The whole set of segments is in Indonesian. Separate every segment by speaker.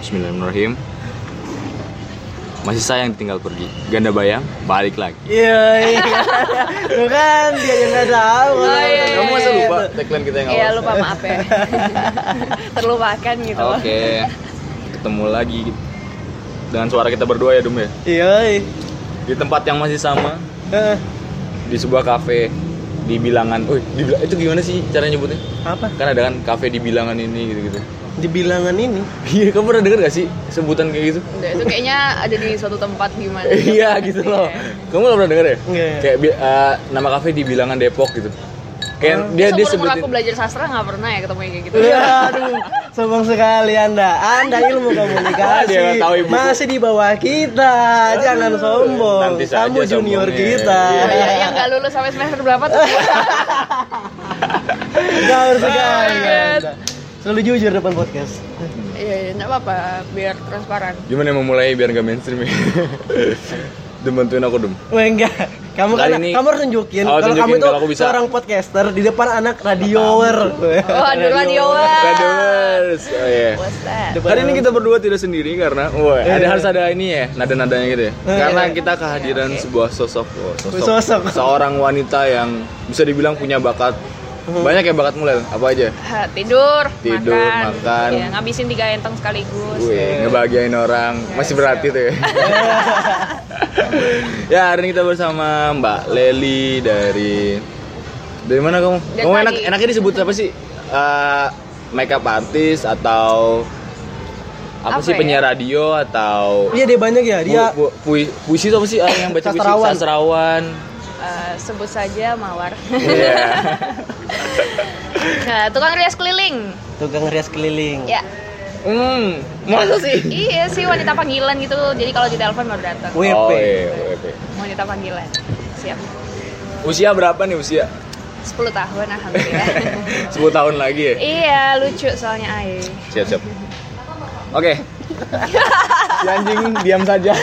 Speaker 1: Bismillahirrahmanirrahim. Masih sayang ditinggal pergi. Ganda bayang, balik lagi.
Speaker 2: Iya, iya. Tuh kan dia yang nggak tahu.
Speaker 3: Oh, iya, iya,
Speaker 1: Kamu masa
Speaker 3: iya,
Speaker 1: lupa tagline kita yang awal?
Speaker 3: Iya lupa maaf ya. Terlupakan gitu.
Speaker 1: Oke.
Speaker 3: loh.
Speaker 1: Ketemu lagi dengan suara kita berdua ya, Dum ya.
Speaker 2: Iya.
Speaker 1: Di tempat yang masih sama,
Speaker 2: Eh,
Speaker 1: di sebuah kafe di bilangan. Wih, di Bila- itu gimana sih cara nyebutnya?
Speaker 2: Apa?
Speaker 1: Kan ada kan kafe di bilangan ini gitu-gitu.
Speaker 2: Di bilangan ini.
Speaker 1: Iya, kamu pernah denger gak sih sebutan kayak gitu?
Speaker 3: Udah, itu kayaknya ada di suatu tempat gimana?
Speaker 1: Iya gitu loh. Kamu gak pernah denger ya?
Speaker 3: Iya.
Speaker 2: Nggak, ya.
Speaker 1: Kayak bi- eh, nama kafe di bilangan Depok gitu. Kayak dia Iya.
Speaker 3: Dia,
Speaker 1: dia
Speaker 3: Seumur
Speaker 1: sebutin
Speaker 3: Oh. Iya. aku belajar sastra nggak pernah ya ketemu yang kayak gitu.
Speaker 2: Iya, Aduh, sombong sekali Anda. Anda ilmu komunikasi
Speaker 1: Dia nggak tahu ibu.
Speaker 2: masih di bawah kita. Jangan sombong.
Speaker 1: Nanti saja
Speaker 2: Kamu junior
Speaker 1: sombongnya.
Speaker 2: kita.
Speaker 3: Oh, iya, yang nggak lulus sampai semester berapa tuh?
Speaker 2: Gaul sekali.
Speaker 3: Banget.
Speaker 2: Anda. Selalu jujur depan podcast.
Speaker 3: Iya, iya, nggak apa-apa, biar transparan.
Speaker 1: Gimana yang memulai biar gak mainstream ya? Dum bantuin aku Dum
Speaker 2: Wah enggak. Kamu
Speaker 1: Kali
Speaker 2: kan
Speaker 1: ini-
Speaker 2: kamu harus nunjukin
Speaker 1: Oh,
Speaker 2: kalau kamu
Speaker 1: tunjukin
Speaker 2: itu
Speaker 1: kalau aku bisa.
Speaker 2: seorang podcaster di depan anak radioer.
Speaker 3: Waduh, radioan.
Speaker 1: Radioers Oh iya
Speaker 3: What's that?
Speaker 1: Hari ini kita berdua tidak sendiri karena wah, ada harus ada ini ya, nada-nadanya gitu ya. Karena kita kehadiran sebuah sosok, oh,
Speaker 2: Sosok.
Speaker 1: seorang wanita yang bisa dibilang punya bakat. Banyak ya bakatmu mulai apa aja?
Speaker 3: Ha, tidur,
Speaker 1: Tidur, makan.
Speaker 3: Ya, ngabisin tiga enteng sekaligus.
Speaker 1: Wih, ngebahagiain orang. Masih berarti tuh ya. ya, hari ini kita bersama Mbak Leli dari dari mana kamu?
Speaker 3: Dari
Speaker 1: kamu
Speaker 3: tadi.
Speaker 1: enak enaknya disebut apa sih? Eh, makeup artist atau apa,
Speaker 3: Apa
Speaker 1: sih
Speaker 3: ya?
Speaker 1: penyiar radio atau
Speaker 2: Iya dia banyak ya. Dia
Speaker 1: pu- pu- pui- puisi itu apa sih Ah, yang baca puisi
Speaker 2: Sastrawan.
Speaker 1: sastrawan.
Speaker 3: Eh, sebut saja mawar.
Speaker 1: Iya.
Speaker 3: nah, tukang rias keliling.
Speaker 2: tukang rias keliling.
Speaker 3: Ya.
Speaker 1: Hmm, masa sih?
Speaker 3: Iya sih wanita panggilan gitu. Jadi kalau ditelepon baru datang.
Speaker 2: WP.
Speaker 1: Oh, iya, WP.
Speaker 3: Wanita panggilan. Siap.
Speaker 1: Usia berapa nih usia?
Speaker 3: 10 tahun alhamdulillah.
Speaker 1: 10 tahun lagi ya?
Speaker 3: iya, lucu soalnya Ai.
Speaker 1: Siap, siap. Oke. si anjing diam saja.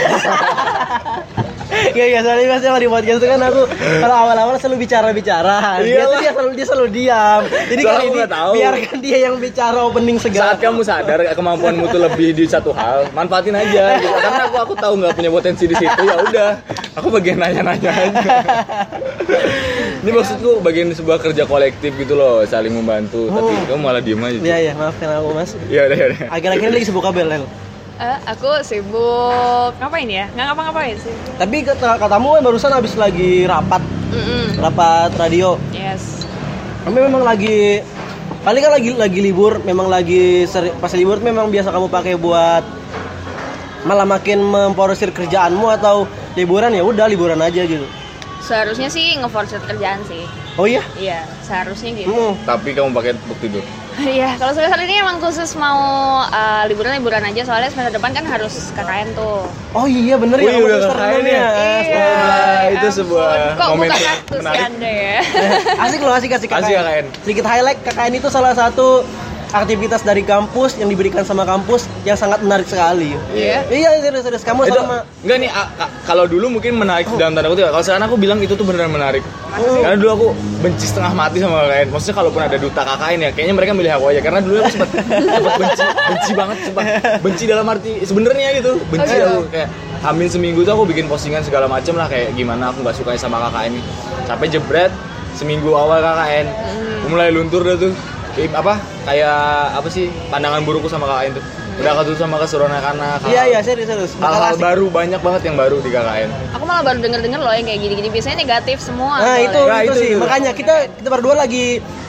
Speaker 2: Iya iya soalnya biasanya kalau di podcast itu kan aku kalau awal-awal selalu bicara-bicara. Dia tuh
Speaker 1: Iyalah.
Speaker 2: dia selalu dia selalu diam. Jadi
Speaker 1: Iya, Soalnya
Speaker 2: kali
Speaker 1: aku
Speaker 2: ini
Speaker 1: nggak tahu.
Speaker 2: biarkan dia yang bicara opening segala.
Speaker 1: Saat kamu sadar kemampuanmu tuh lebih di satu hal, manfaatin aja. Gitu. Karena aku aku tahu nggak punya potensi di situ, ya udah. Aku bagian nanya-nanya aja. Ini maksudku bagian sebuah kerja kolektif gitu loh, saling membantu. Tapi kamu malah diem aja.
Speaker 2: Iya iya maafkan aku Mas.
Speaker 1: Ya udah, ya udah.
Speaker 2: Akhir-akhir ini lagi sibuk kabel Lel.
Speaker 3: Eh, aku sibuk ngapain ya? Nggak ngapa-ngapain sih.
Speaker 2: Tapi kata katamu kan barusan habis lagi rapat,
Speaker 3: Mm-mm.
Speaker 2: rapat radio.
Speaker 3: Yes.
Speaker 2: Kami memang lagi paling kan lagi lagi libur, memang lagi seri- pas libur tuh memang biasa kamu pakai buat malah makin memporsir kerjaanmu atau liburan ya udah liburan aja gitu.
Speaker 3: Seharusnya sih ngeforsir kerjaan sih.
Speaker 2: Oh iya.
Speaker 3: Iya, seharusnya gitu.
Speaker 2: Hmm.
Speaker 1: Tapi kamu pakai untuk tidur.
Speaker 3: Iya, kalau semester ini emang khusus mau eh, liburan-liburan aja soalnya semester depan kan harus KKN tuh.
Speaker 2: Oh iya bener
Speaker 1: Wih,
Speaker 2: ya kamu
Speaker 1: udah
Speaker 2: semester
Speaker 1: keren
Speaker 2: enam
Speaker 1: ya.
Speaker 3: Iya,
Speaker 1: Wah,
Speaker 3: ya
Speaker 1: itu
Speaker 3: ampun.
Speaker 1: sebuah
Speaker 3: Kok
Speaker 1: momen
Speaker 3: bukan aku sih
Speaker 1: menarik.
Speaker 3: Anda ya?
Speaker 2: Asik loh asik asik KKN.
Speaker 1: Asik ya, KKN.
Speaker 2: Sedikit highlight KKN itu salah satu aktivitas dari kampus yang diberikan sama kampus yang sangat menarik sekali.
Speaker 3: Iya.
Speaker 2: Iya serius serius kamu
Speaker 1: itu Eh,
Speaker 2: sama Oh.
Speaker 1: enggak nih a- a- kalau dulu mungkin menarik dalam tanda kutip ya. kalau sekarang aku bilang itu tuh beneran menarik karena dulu aku benci setengah mati sama KKN maksudnya kalaupun ada duta KKN ya kayaknya mereka milih aku aja karena dulu aku sempat sempat benci benci banget sempat benci dalam arti sebenarnya gitu benci
Speaker 3: Oh, gitu.
Speaker 1: aku kayak hamin seminggu tuh aku bikin postingan segala macem lah kayak gimana aku nggak sukanya sama KKN ini sampai jebret seminggu awal KKN
Speaker 2: Hmm.
Speaker 1: aku mulai luntur dah tuh Kayak apa kayak apa sih pandangan burukku sama KKN tuh udah ketutup sama keseruan anak-anak
Speaker 2: Iya iya serius serius. Bakal
Speaker 1: hal-hal
Speaker 2: asik.
Speaker 1: baru banyak banget yang baru di KKN
Speaker 3: Aku malah baru denger-denger loh yang kayak gini-gini. Biasanya negatif semua.
Speaker 2: Nah itu,
Speaker 3: soalnya.
Speaker 1: Nah,
Speaker 2: itu,
Speaker 1: itu
Speaker 2: sih
Speaker 1: juga.
Speaker 2: makanya kita kita berdua lagi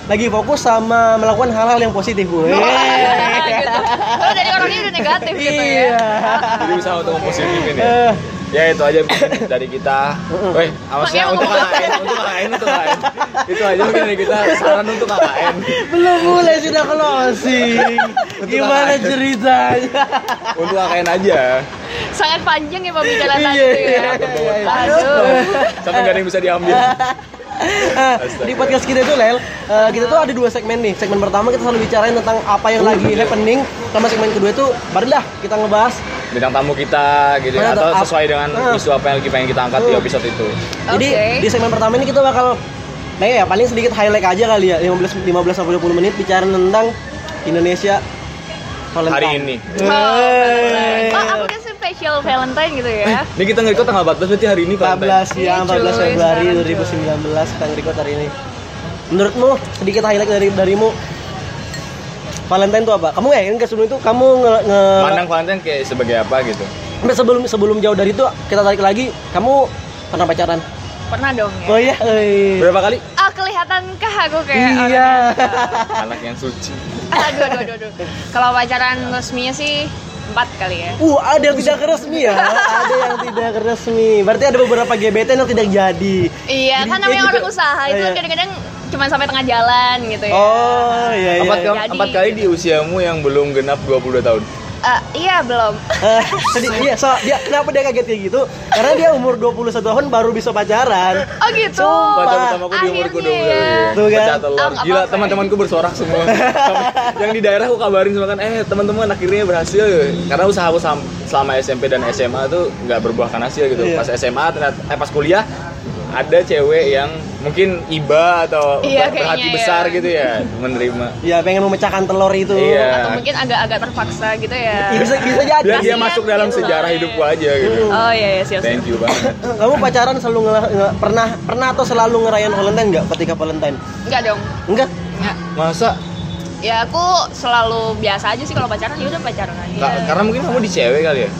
Speaker 2: lagi fokus sama melakukan hal-hal yang positif.
Speaker 3: Oh,
Speaker 2: Iya. Weh.
Speaker 3: iya, gitu. Kalau dari orangnya udah negatif gitu ya.
Speaker 2: Iya.
Speaker 1: jadi usaha untuk mempositifin ya
Speaker 2: Eh,
Speaker 1: ya itu aja mungkin dari kita weh awasnya
Speaker 3: Makanya
Speaker 1: untuk
Speaker 3: mau-
Speaker 1: KKN untuk KKN untuk KKN itu aja mungkin dari kita saran untuk KKN
Speaker 2: belum mulai sudah closing. Gimana
Speaker 1: Betul.
Speaker 2: ceritanya?
Speaker 1: untuk KKN aja
Speaker 3: Sangat panjang ya pembicaraan tadi
Speaker 2: Iya,
Speaker 3: itu ya.
Speaker 2: iya, iya.
Speaker 3: Aduh.
Speaker 1: sampai nggak ada yang bisa diambil
Speaker 2: Ah, di podcast kita itu Lel, eh, kita tuh ada dua segmen nih. Segmen pertama kita selalu bicarain tentang apa yang lagi happening, sama segmen kedua itu barulah kita ngebahas.
Speaker 1: bintang tamu kita gitu ya.
Speaker 2: Mana
Speaker 1: atau
Speaker 2: tuh, ap-
Speaker 1: sesuai dengan
Speaker 2: Ah. Uh.
Speaker 1: isu apa yang lagi pengen kita angkat di episode itu
Speaker 2: Jadi
Speaker 3: Oke.
Speaker 2: di segmen pertama ini kita bakal Nah ya paling sedikit highlight aja kali ya 15 15 sampai 20 menit bicara tentang Indonesia Valentine.
Speaker 1: Hari ini.
Speaker 2: Yeay.
Speaker 3: Oh, Valentine. oh aku kan special Valentine gitu ya.
Speaker 1: Ini kita ngerekod tanggal 14 berarti hari ini Valentine.
Speaker 2: 14
Speaker 3: Iya,
Speaker 2: ya, 14 Februari 2019 kita record hari ini. Menurutmu sedikit highlight dari darimu Valentine itu apa? Kamu nggak yang sebelum itu kamu nge, nge-
Speaker 1: Pandang Valentine kayak sebagai apa gitu.
Speaker 2: Sampai sebelum sebelum jauh dari itu kita tarik lagi. Kamu pernah pacaran?
Speaker 3: Pernah dong ya.
Speaker 2: Oh iya. eh.
Speaker 1: Berapa kali?
Speaker 3: Ah kelihatankah aku kayak
Speaker 2: Iya.
Speaker 1: Anak yang suci.
Speaker 3: orang? Aduh, aduh, aduh, aduh. Kalau pacaran resminya sih empat kali ya.
Speaker 2: Uh, ada yang tidak resmi ya, ada yang tidak resmi. Berarti ada beberapa gebetan yang tidak jadi.
Speaker 3: Iya, kan
Speaker 2: dia
Speaker 3: namanya
Speaker 2: juga-
Speaker 3: orang usaha itu
Speaker 2: Iya.
Speaker 3: kan kadang-kadang cuma sampai tengah jalan gitu ya.
Speaker 2: Oh, iya iya.
Speaker 1: Empat, kali,
Speaker 3: Jadi.
Speaker 1: empat kali di usiamu yang belum genap 22 tahun.
Speaker 3: Eh, iya belum.
Speaker 2: Eh, jadi iya, so, dia kenapa dia kaget kayak gitu? Karena dia umur 21 tahun baru bisa pacaran.
Speaker 3: Oh gitu.
Speaker 1: Pacar pertamaku di umurku 22
Speaker 3: Akhirnya ya.
Speaker 1: tahun.
Speaker 2: Tuh kan?
Speaker 1: Pecah telur.
Speaker 3: Ah, nggak
Speaker 1: Gila,
Speaker 3: apa-apa.
Speaker 1: teman-temanku bersorak semua. Sama- yang di daerah aku kabarin semua kan, eh teman-teman akhirnya berhasil. Karena usaha aku sam- selama SMP dan SMA tuh nggak berbuahkan hasil gitu.
Speaker 2: Iya.
Speaker 1: Pas SMA, ternyata, eh pas kuliah ada cewek yang mungkin iba atau
Speaker 3: Iya,
Speaker 1: ber- berhati
Speaker 3: kayaknya ya.
Speaker 1: besar gitu ya menerima.
Speaker 2: Ya pengen memecahkan telur itu.
Speaker 1: Iya.
Speaker 3: Atau mungkin agak-agak terpaksa gitu ya.
Speaker 2: Ya, bisa bisa jadi. Hmm.
Speaker 1: Biar dia
Speaker 3: Kasihan
Speaker 1: masuk dalam
Speaker 3: gitu,
Speaker 1: sejarah
Speaker 3: soalnya.
Speaker 1: hidupku aja gitu.
Speaker 3: Oh iya, iya siap, siap.
Speaker 1: Thank you banget.
Speaker 2: Kamu pacaran selalu ngela- nge- pernah pernah atau selalu ngerayain Valentine nggak ketika Valentine?
Speaker 3: Enggak dong.
Speaker 2: Enggak.
Speaker 3: Enggak.
Speaker 1: Masa?
Speaker 3: Ya aku selalu biasa aja sih kalau pacaran ya udah pacaran aja.
Speaker 1: Ka- Karena mungkin kamu di cewek kali ya.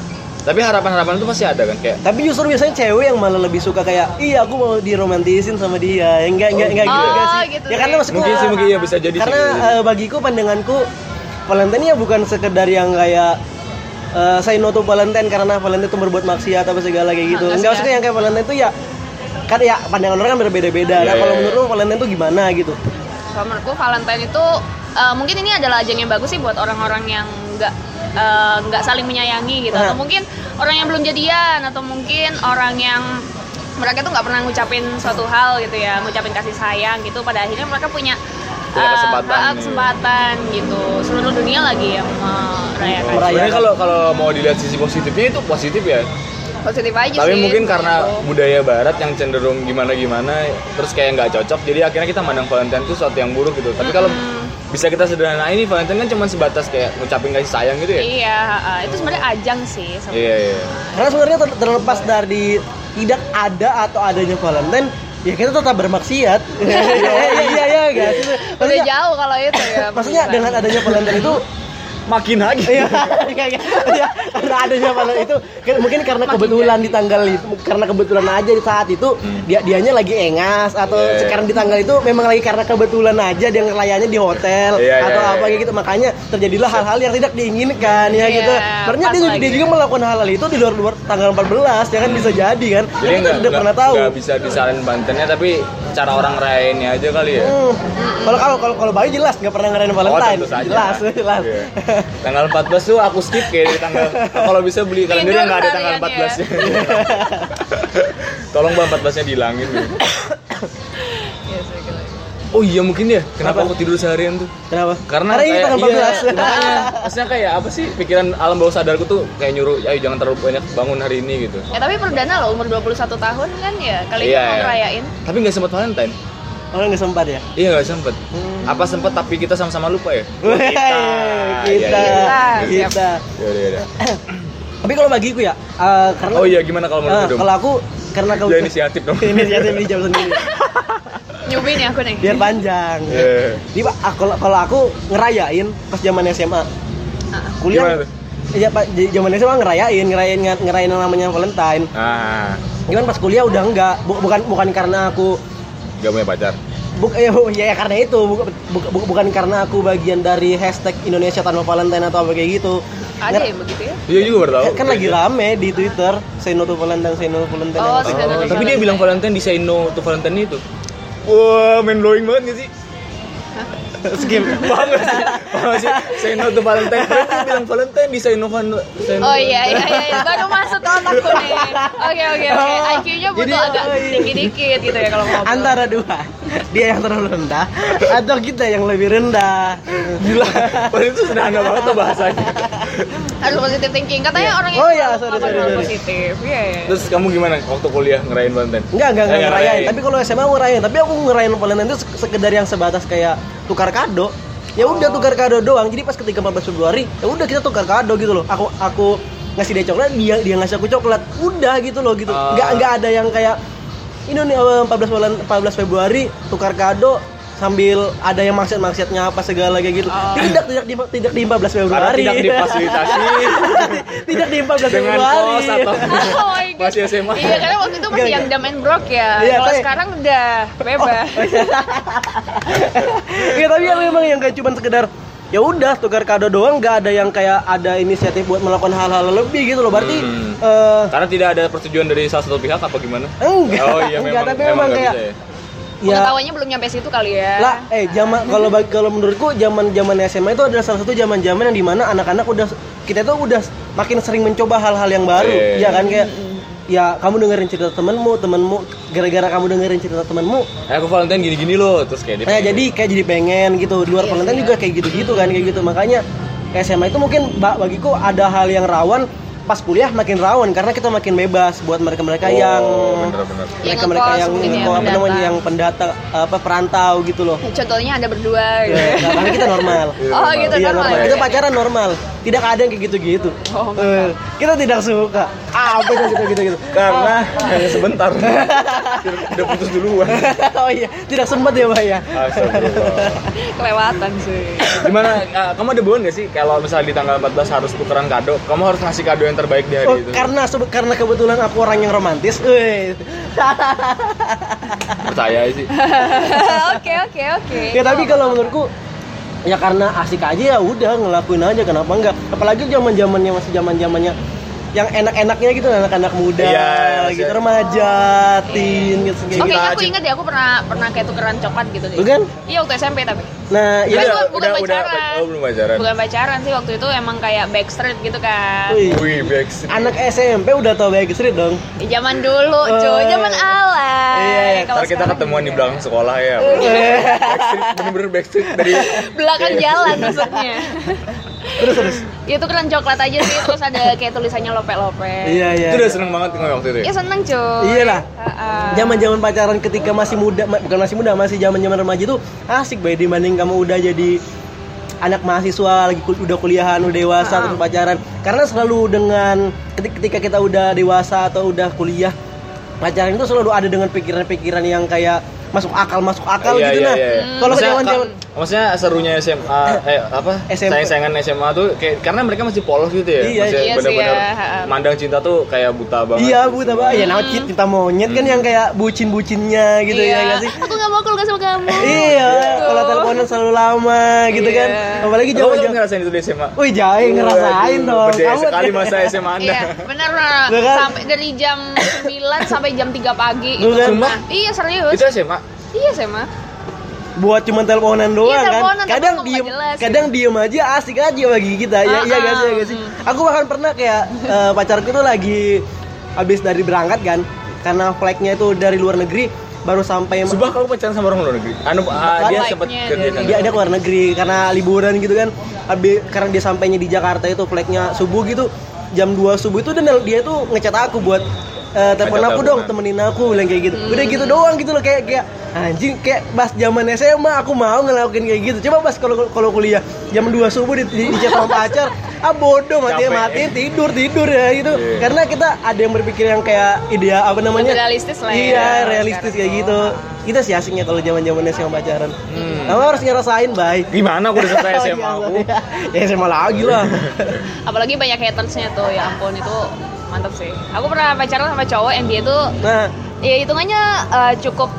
Speaker 1: Tapi harapan-harapan itu pasti ada kan kayak
Speaker 2: Tapi justru biasanya cewek yang malah lebih suka kayak, iya aku mau diromantisin sama dia. Ya, enggak enggak enggak gitu
Speaker 3: Oh,
Speaker 2: enggak sih. ya
Speaker 3: gitu sih.
Speaker 2: karena maksudku
Speaker 1: mungkin sih mungkin ya bisa jadi
Speaker 2: karena
Speaker 1: sih.
Speaker 2: eh, bagiku pandanganku Valentine ya bukan sekedar yang kayak eh, say no to Valentine karena Valentine itu berbuat maksiat apa segala kayak gitu.
Speaker 3: Ah,
Speaker 2: Enggak
Speaker 3: enggak sih
Speaker 2: maksudnya yang kayak Valentine itu ya kan ya pandangan orang kan berbeda-beda.
Speaker 1: Iya,
Speaker 2: nah, kalau
Speaker 1: iya,
Speaker 2: menurut lu Valentine itu gimana gitu?
Speaker 3: Kalau menurutku Valentine itu eh, mungkin ini adalah ajang yang bagus sih buat orang-orang yang nggak eh, nggak saling menyayangi gitu
Speaker 1: Iya.
Speaker 3: atau
Speaker 2: Nah.
Speaker 3: mungkin orang yang belum jadian atau mungkin orang yang mereka tuh nggak pernah ngucapin suatu hal gitu ya ngucapin kasih sayang gitu pada akhirnya mereka punya
Speaker 1: Punya
Speaker 3: eh,
Speaker 1: kesempatan
Speaker 3: hak-
Speaker 1: nih.
Speaker 3: kesempatan gitu seluruh dunia lagi yang eh, merayakan
Speaker 2: Merayakan.
Speaker 1: Sebenarnya kalau kalau mau dilihat sisi positifnya itu positif ya.
Speaker 3: positif aja
Speaker 1: Tapi
Speaker 3: Iya sih
Speaker 1: mungkin karena
Speaker 3: gitu.
Speaker 1: budaya barat yang cenderung gimana-gimana terus kayak nggak cocok jadi akhirnya kita mandang Valentine itu sesuatu yang buruk gitu. Tapi kalau bisa kita sederhanain ini Valentine kan cuma sebatas kayak ngucapin kasih sayang gitu ya.
Speaker 3: iya eh, itu sebenarnya ajang sih sebenarnya.
Speaker 1: Iya iya.
Speaker 2: Karena sebenarnya ter- terlepas dari tidak ada atau adanya Valentine, ya kita tetap bermaksiat. Iya iya iya enggak sih?
Speaker 3: udah
Speaker 2: Maksudnya,
Speaker 3: jauh kalau itu ya
Speaker 2: maksudnya
Speaker 3: pemikiran.
Speaker 2: dengan adanya Valentine itu
Speaker 1: Makin lagi.
Speaker 2: Iya, iya, iya. Iya, karena adanya malam itu kan mungkin karena kebetulan di tanggal itu karena kebetulan aja di saat itu dia dianya lagi engas atau
Speaker 1: Hmm. Iya, iya.
Speaker 2: sekarang di tanggal itu memang lagi karena kebetulan aja dia ngelayannya di hotel
Speaker 1: Iya, iya,
Speaker 2: atau
Speaker 1: iya,
Speaker 2: apa
Speaker 1: iya.
Speaker 2: kayak gitu makanya terjadilah hal-hal yang tidak diinginkan ya
Speaker 3: Iya,
Speaker 2: gitu. Sebenarnya
Speaker 3: pas
Speaker 2: dia,
Speaker 3: lagi.
Speaker 2: dia juga melakukan hal-hal itu di luar luar tanggal 14 ya kan bisa jadi kan.
Speaker 1: Jadi
Speaker 2: Kan kita
Speaker 1: nggak
Speaker 2: tidak
Speaker 1: nggak-
Speaker 2: pernah tahu.
Speaker 1: nggak bisa disalin Valentine-nya tapi cara orang rayainnya aja kali ya.
Speaker 2: Hmm. Kalau kalau kalau kalau Bayu jelas nggak pernah ngerayain Valentine.
Speaker 1: Oh, tentu saja.
Speaker 2: jelas, jelas.
Speaker 1: Iya. Tanggal 14 tuh aku skip kayak di tanggal kalau bisa beli kalender yang nggak ada tanggal
Speaker 3: Indoor
Speaker 1: 14 nya. Tolong bang 14 nya dihilangin. dulu.
Speaker 3: Iya, sih, gitu.
Speaker 1: Oh iya mungkin ya. Kenapa aku
Speaker 2: Apa?
Speaker 1: tidur seharian tuh?
Speaker 2: Kenapa?
Speaker 1: Karena,
Speaker 2: ini
Speaker 1: kayak-
Speaker 2: tanggal
Speaker 1: iya,
Speaker 2: 14.
Speaker 1: makanya, maksudnya kayak apa sih pikiran alam bawah sadarku tuh kayak nyuruh, ayo jangan terlalu banyak bangun hari ini gitu.
Speaker 3: Ya tapi perdana loh umur 21 tahun kan ya kali
Speaker 1: Iya,
Speaker 3: ini mau
Speaker 1: iya.
Speaker 3: ngerayain.
Speaker 1: Tapi nggak sempat Valentine.
Speaker 2: Orang nggak sempat ya.
Speaker 1: Iya nggak sempet.
Speaker 2: Hmm.
Speaker 1: Apa sempet tapi kita sama-sama lupa ya. Oh,
Speaker 2: Wey,
Speaker 1: Iya,
Speaker 2: kita,
Speaker 1: iya.
Speaker 3: Kita,
Speaker 2: kita.
Speaker 1: Yaudah, yaudah.
Speaker 2: Tapi kalau bagiku ya, eh, karena
Speaker 1: Oh iya gimana kalau
Speaker 2: eh,
Speaker 1: menurut kamu?
Speaker 2: kalau aku karena kau
Speaker 1: Ya inisiatif dong.
Speaker 2: inisiatif di jam sendiri
Speaker 3: Nyubin ya aku nih.
Speaker 2: biar panjang.
Speaker 1: Iya.
Speaker 2: Jadi Pak, aku- kalau kalau aku ngerayain pas zaman SMA,
Speaker 1: Gimana
Speaker 2: kuliah.
Speaker 1: tuh?
Speaker 2: Iya Pak, di zaman SMA ngerayain, ngerayain ngerayain yang namanya Valentine.
Speaker 1: Ah,
Speaker 2: Cuman pas kuliah udah enggak, Bu- bukan bukan karena aku
Speaker 1: gak punya pacar.
Speaker 2: Buk, ya, bu- ya, ya karena itu Bu- bu- bu- bukan karena aku bagian dari hashtag Indonesia tanpa Valentine atau apa kayak gitu.
Speaker 3: Ada
Speaker 2: Nger-
Speaker 3: yang begitu ya?
Speaker 1: Iya juga baru tahu.
Speaker 2: Kan, kan lagi rame di Twitter, say no to Valentine, say no to Valentine.
Speaker 3: Oh,
Speaker 2: Yang-
Speaker 3: say no to
Speaker 1: Oh, tapi dia bilang Valentine di say no to Valentine itu. Wah, main blowing banget gak sih?
Speaker 2: Skip.
Speaker 1: Paham gak sih? Paham gak sih? Say no to Valentine. Berarti dia bilang Valentine di say no Val- say no
Speaker 3: Oh iya iya iya iya. baru masuk ke otakku nih. Oke oke oke.
Speaker 2: Oh,
Speaker 3: IQ-nya butuh
Speaker 2: jadi-
Speaker 3: agak
Speaker 2: oh, iya.
Speaker 3: tinggi dikit gitu ya kalau ngobrol.
Speaker 2: Antara dua, dia yang terlalu rendah atau kita yang lebih rendah.
Speaker 1: Gila, padahal itu sederhana banget tuh bahasanya
Speaker 3: harus positive thinking katanya orang yang
Speaker 2: Oh, iya,
Speaker 3: terlalu-
Speaker 2: sorry,
Speaker 3: apa,
Speaker 2: sorry,
Speaker 3: terlalu
Speaker 2: sorry.
Speaker 3: positif iya iya.
Speaker 1: Terus kamu gimana waktu kuliah ngerayain Valentine?
Speaker 2: Enggak, enggak, enggak
Speaker 1: Eh,
Speaker 2: ngerayain. Tapi kalau SMA aku ngerayain, tapi aku ngerayain Valentine itu sek- sekedar yang sebatas kayak tukar kado. Ya udah tukar kado doang. Jadi pas ketika 14 Februari, ya udah kita tukar kado gitu loh. Aku aku ngasih dia coklat, dia dia ngasih aku coklat. Udah gitu loh gitu.
Speaker 1: Ah.
Speaker 2: Enggak enggak ada yang kayak ini nih eh, 14 bulan 14 Februari tukar kado sambil ada yang maksud-maksudnya apa segala kayak gitu.
Speaker 3: Ah.
Speaker 2: Tidak tidak di tidak di 14
Speaker 1: Karena
Speaker 2: Februari.
Speaker 1: tidak difasilitasi
Speaker 2: tidak di
Speaker 1: dengan
Speaker 2: 14 Februari.
Speaker 1: kos atau
Speaker 3: Oh my God.
Speaker 1: masih SMA.
Speaker 3: Iya karena waktu itu
Speaker 2: Enggak,
Speaker 3: masih yang
Speaker 2: enggak.
Speaker 3: dam and broke ya.
Speaker 2: Iya,
Speaker 3: Kalau
Speaker 2: tapi- Oh,
Speaker 3: sekarang udah bebas.
Speaker 2: ya tapi yang memang yang kayak cuman sekedar ya udah tukar kado doang nggak ada yang kayak ada inisiatif buat melakukan hal-hal lebih gitu loh berarti
Speaker 1: Hmm.
Speaker 2: eh,
Speaker 1: Karena tidak ada persetujuan dari salah satu pihak apa gimana?
Speaker 2: enggak
Speaker 1: Oh iya
Speaker 2: enggak
Speaker 1: memang,
Speaker 2: tapi memang
Speaker 1: nggak
Speaker 2: kayak
Speaker 1: bisa ya.
Speaker 2: ya
Speaker 3: Pengetahuannya belum nyampe situ kali ya.
Speaker 2: lah eh zaman kalau bagi- kalau menurutku zaman zaman SMA itu adalah salah satu zaman zaman yang dimana anak-anak udah kita tuh udah makin sering mencoba hal-hal yang baru
Speaker 1: Iya.
Speaker 2: ya kan kayak ya kamu dengerin cerita temenmu temenmu gara-gara kamu dengerin cerita temenmu
Speaker 1: Eh, aku Valentine gini-gini loh, terus kayak dia.
Speaker 2: Nah, jadi kayak jadi pengen gitu. Di luar
Speaker 3: Iya,
Speaker 2: Valentine
Speaker 3: iya.
Speaker 2: juga kayak gitu-gitu kan kayak gitu. Makanya kayak SMA itu mungkin ba- bagiku ada hal yang rawan pas kuliah makin rawan karena kita makin bebas buat
Speaker 1: Oh,
Speaker 2: mereka-mereka yang
Speaker 1: bener-bener.
Speaker 3: Yang
Speaker 2: mereka-mereka
Speaker 3: ngekos
Speaker 2: yang
Speaker 3: mungkin ya,
Speaker 2: apa namanya
Speaker 3: pendatang.
Speaker 2: yang pendata apa perantau gitu loh.
Speaker 3: Ya, contohnya ada berdua gitu.
Speaker 2: Ya, nah, karena kita normal.
Speaker 1: Iya,
Speaker 3: Oh
Speaker 1: normal.
Speaker 3: gitu
Speaker 2: Iya,
Speaker 3: normal.
Speaker 2: normal. Kita pacaran normal. Tidak ada yang kayak gitu-gitu.
Speaker 3: Oh,
Speaker 2: Eh, kita tidak suka. Ah, Apa itu gitu-gitu.
Speaker 1: karena hanya sebentar. Udah putus duluan.
Speaker 2: oh iya, tidak sempat ya, Pak ya.
Speaker 1: Astagfirullah.
Speaker 3: Kelewatan sih.
Speaker 1: Gimana? eh, kamu ada bawaan gak sih kalau misalnya di tanggal 14 harus tukeran kado? Kamu harus ngasih kado yang terbaik di hari
Speaker 2: Oh,
Speaker 1: itu.
Speaker 2: karena sebe- karena kebetulan aku orang yang romantis. Eh,
Speaker 1: Percaya sih.
Speaker 3: Oke oke oke.
Speaker 2: ya tapi kalau menurutku ya karena asik aja ya udah ngelakuin aja kenapa enggak apalagi zaman zamannya masih zaman zamannya yang enak-enaknya gitu anak-anak muda
Speaker 1: Iya, iya,
Speaker 2: gitu
Speaker 1: iya.
Speaker 2: remaja teen gitu
Speaker 3: Oke,
Speaker 2: gitu.
Speaker 1: Kita
Speaker 3: aku
Speaker 1: aja.
Speaker 3: ingat ya aku pernah pernah kayak tukeran coklat gitu deh.
Speaker 2: Tuh kan
Speaker 3: Iya waktu SMP tapi.
Speaker 2: nah
Speaker 3: Iya.
Speaker 2: ya
Speaker 3: bukan- bukan pacaran.
Speaker 1: oh, belum pacaran.
Speaker 3: Bukan pacaran sih waktu itu emang kayak backstreet gitu kan.
Speaker 2: wih,
Speaker 1: Wih, backstreet.
Speaker 2: anak SMP udah tau Backstreet dong
Speaker 3: Zaman dulu, cuy,
Speaker 2: Eh.
Speaker 3: zaman alay.
Speaker 2: Iya, iya.
Speaker 3: Kalau
Speaker 1: Ntar kita
Speaker 3: sekarang
Speaker 1: ketemuan di
Speaker 3: gitu.
Speaker 1: belakang sekolah ya. Backstreet, bener-bener backstreet dari
Speaker 3: belakang jalan maksudnya.
Speaker 2: Iya. terus terus
Speaker 3: Ya itu keren coklat aja sih, terus ada kayak tulisannya lope-lope.
Speaker 2: iya iya
Speaker 1: itu udah seneng banget ngomong waktu itu. ya?
Speaker 3: Ya seneng cuy.
Speaker 2: Iyalah.
Speaker 3: Ha-ha.
Speaker 2: Zaman-zaman pacaran ketika masih muda, ma- bukan masih muda, masih zaman-zaman remaja itu asik bay dibanding kamu udah jadi anak mahasiswa lagi kul- udah kuliahan, udah dewasa
Speaker 3: Ah.
Speaker 2: terus pacaran. Karena selalu dengan keti- ketika kita udah dewasa atau udah kuliah, pacaran itu selalu ada dengan pikiran-pikiran yang kayak masuk akal, masuk akal
Speaker 1: Iya,
Speaker 2: gitu
Speaker 1: iya,
Speaker 2: nah.
Speaker 1: iya.
Speaker 2: Kalau
Speaker 1: Maksudnya,
Speaker 2: zaman-zaman
Speaker 1: ka- maksudnya serunya SMA eh apa
Speaker 2: SMP.
Speaker 1: sayang-sayangan SMA tuh kayak karena mereka masih polos gitu ya.
Speaker 2: Iya,
Speaker 1: Maksudnya
Speaker 3: iya sih,
Speaker 1: benar-benar
Speaker 3: ya.
Speaker 1: mandang cinta tuh kayak buta banget. gitu
Speaker 2: Iya, Bu, tambah ya namanya cinta cinta monyet
Speaker 1: Hmm.
Speaker 2: kan yang kayak bucin-bucinnya gitu
Speaker 3: Iya.
Speaker 2: ya nggak sih?
Speaker 3: Aku gak mau keluar sama kamu.
Speaker 2: Iya, kalau teleponan selalu lama gitu
Speaker 3: Iya.
Speaker 2: kan. Apalagi
Speaker 1: Kamu
Speaker 2: zaman
Speaker 1: belum ngerasain itu di SMA?
Speaker 2: Wih jahe ngerasain
Speaker 1: Waduh,
Speaker 2: dong.
Speaker 1: Percaya
Speaker 2: Kamu-
Speaker 1: sekali masa SMA Anda.
Speaker 3: Iya, bener bener.
Speaker 2: Tuh kan?
Speaker 3: Sampai dari jam 9 sampai jam 3 pagi.
Speaker 2: Tuh kan?
Speaker 3: Nah, iya serius.
Speaker 1: Itu SMA.
Speaker 3: Iya sih mah.
Speaker 2: Buat cuma teleponan doang
Speaker 3: Iya,
Speaker 2: kan.
Speaker 3: teleponan,
Speaker 2: kadang
Speaker 3: tapi
Speaker 2: diem,
Speaker 3: ngomong nggak jelas.
Speaker 2: kadang diem aja asik aja bagi kita. Ya iya gak sih, ya gak sih. Aku bahkan pernah kayak eh, pacarku tuh lagi habis dari berangkat kan. Karena flagnya itu dari luar negeri baru sampai
Speaker 1: Subah kamu pacaran sama orang luar negeri. Anu ah, dia
Speaker 3: Like-nya
Speaker 1: sempat
Speaker 3: dia
Speaker 1: kerja
Speaker 3: nih.
Speaker 1: kan.
Speaker 2: dia ada ke luar negeri karena liburan gitu kan habis karena dia sampainya di Jakarta itu flagnya subuh gitu jam 2 subuh itu dan dia tuh ngechat aku buat eh, telepon
Speaker 1: Ngechat kan?
Speaker 2: aku dong
Speaker 1: teleponan.
Speaker 2: temenin aku bilang kayak gitu udah
Speaker 3: Hmm.
Speaker 2: gitu doang gitu loh kayak kayak anjing kayak pas zaman SMA aku mau ngelakuin kayak gitu coba pas kalau kalau kuliah jam 2 subuh di, di, di chat sama pacar ah bodoh mati
Speaker 1: Capek.
Speaker 2: mati tidur tidur ya gitu
Speaker 1: Iya.
Speaker 2: karena kita ada yang berpikir yang kayak idea apa namanya
Speaker 3: Realistis lah ya,
Speaker 2: iya
Speaker 3: sekarang
Speaker 2: realistis kayak
Speaker 3: tuh.
Speaker 2: gitu kita sih asiknya kalau zaman zamannya SMA pacaran
Speaker 1: Hmm.
Speaker 2: kamu harus ngerasain baik
Speaker 1: Gimana aku udah
Speaker 2: Oh, iya,
Speaker 1: selesai SMA aku?
Speaker 2: ya SMA lagi lah
Speaker 3: Apalagi banyak hatersnya tuh, ya ampun itu mantap sih. Aku pernah pacaran sama cowok yang dia tuh
Speaker 2: nah
Speaker 3: ya hitungannya eh, cukup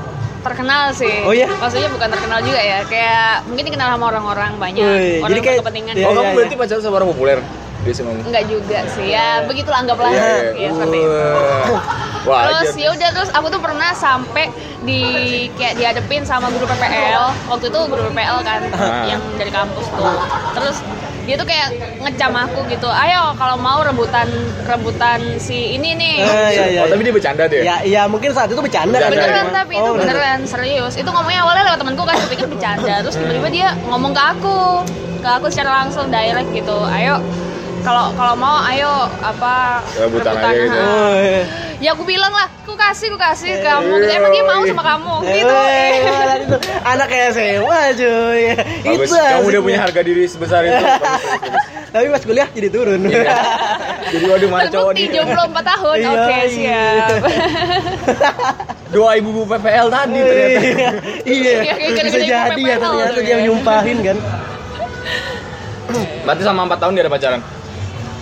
Speaker 3: terkenal sih.
Speaker 2: Oh iya?
Speaker 3: Maksudnya bukan terkenal juga ya, kayak mungkin dikenal sama orang-orang banyak,
Speaker 2: Wih,
Speaker 3: orang
Speaker 2: jadi kayak-
Speaker 3: berkepentingan.
Speaker 2: Iya,
Speaker 1: Oh,
Speaker 2: iya,
Speaker 1: kamu
Speaker 2: iya.
Speaker 1: berarti pacaran sama orang populer di SMA.
Speaker 3: Enggak juga sih, ya begitulah anggaplah
Speaker 1: Iya,
Speaker 3: ya,
Speaker 1: iya.
Speaker 2: Oh,
Speaker 3: seperti itu.
Speaker 1: Wah, wajar.
Speaker 3: Terus ya udah terus aku tuh pernah sampai di kayak dihadepin sama guru PPL. Waktu itu guru PPL kan
Speaker 1: Ah.
Speaker 3: yang dari kampus tuh. Terus dia tuh kayak ngecam aku gitu. Ayo kalau mau rebutan rebutan si ini nih.
Speaker 2: Eh, iya, iya.
Speaker 1: Oh, tapi dia bercanda deh.
Speaker 2: ya ya mungkin saat itu bercanda
Speaker 1: Bercanda,
Speaker 2: kali ya.
Speaker 3: beneran tapi itu
Speaker 2: Oh,
Speaker 3: beneran serius itu ngomongnya awalnya lewat temanku kan tapi kan bercanda terus tiba-tiba dia ngomong ke aku ke aku secara langsung direct gitu ayo kalau kalau mau ayo apa
Speaker 1: Rebutan aja gitu.
Speaker 3: ha.
Speaker 2: Oh, iya.
Speaker 3: ya aku bilang lah aku kasih aku kasih ke kamu gitu emang dia mau sama kamu gitu
Speaker 2: Weh, malah Eh, itu anak kayak SMA cuy.
Speaker 1: Bagus. Kamu
Speaker 2: Itu
Speaker 1: udah
Speaker 2: asiknya.
Speaker 1: punya harga diri sebesar itu. Bagus.
Speaker 2: Tapi pas kuliah jadi turun.
Speaker 1: Iya. Jadi waduh mana cowok
Speaker 3: terbukti
Speaker 1: nih.
Speaker 3: jomblo 4 tahun
Speaker 2: Iya,
Speaker 3: oke
Speaker 2: iya.
Speaker 3: siap
Speaker 1: Doa ibu-ibu PPL tadi ternyata.
Speaker 2: Iya, iya.
Speaker 3: Iya,
Speaker 2: Bisa
Speaker 3: kayak gini-gini
Speaker 2: jadi ya
Speaker 3: PPL
Speaker 2: ternyata
Speaker 3: tuh
Speaker 2: dia
Speaker 3: ya.
Speaker 2: nyumpahin kan.
Speaker 1: Berarti sama 4 tahun dia ada pacaran.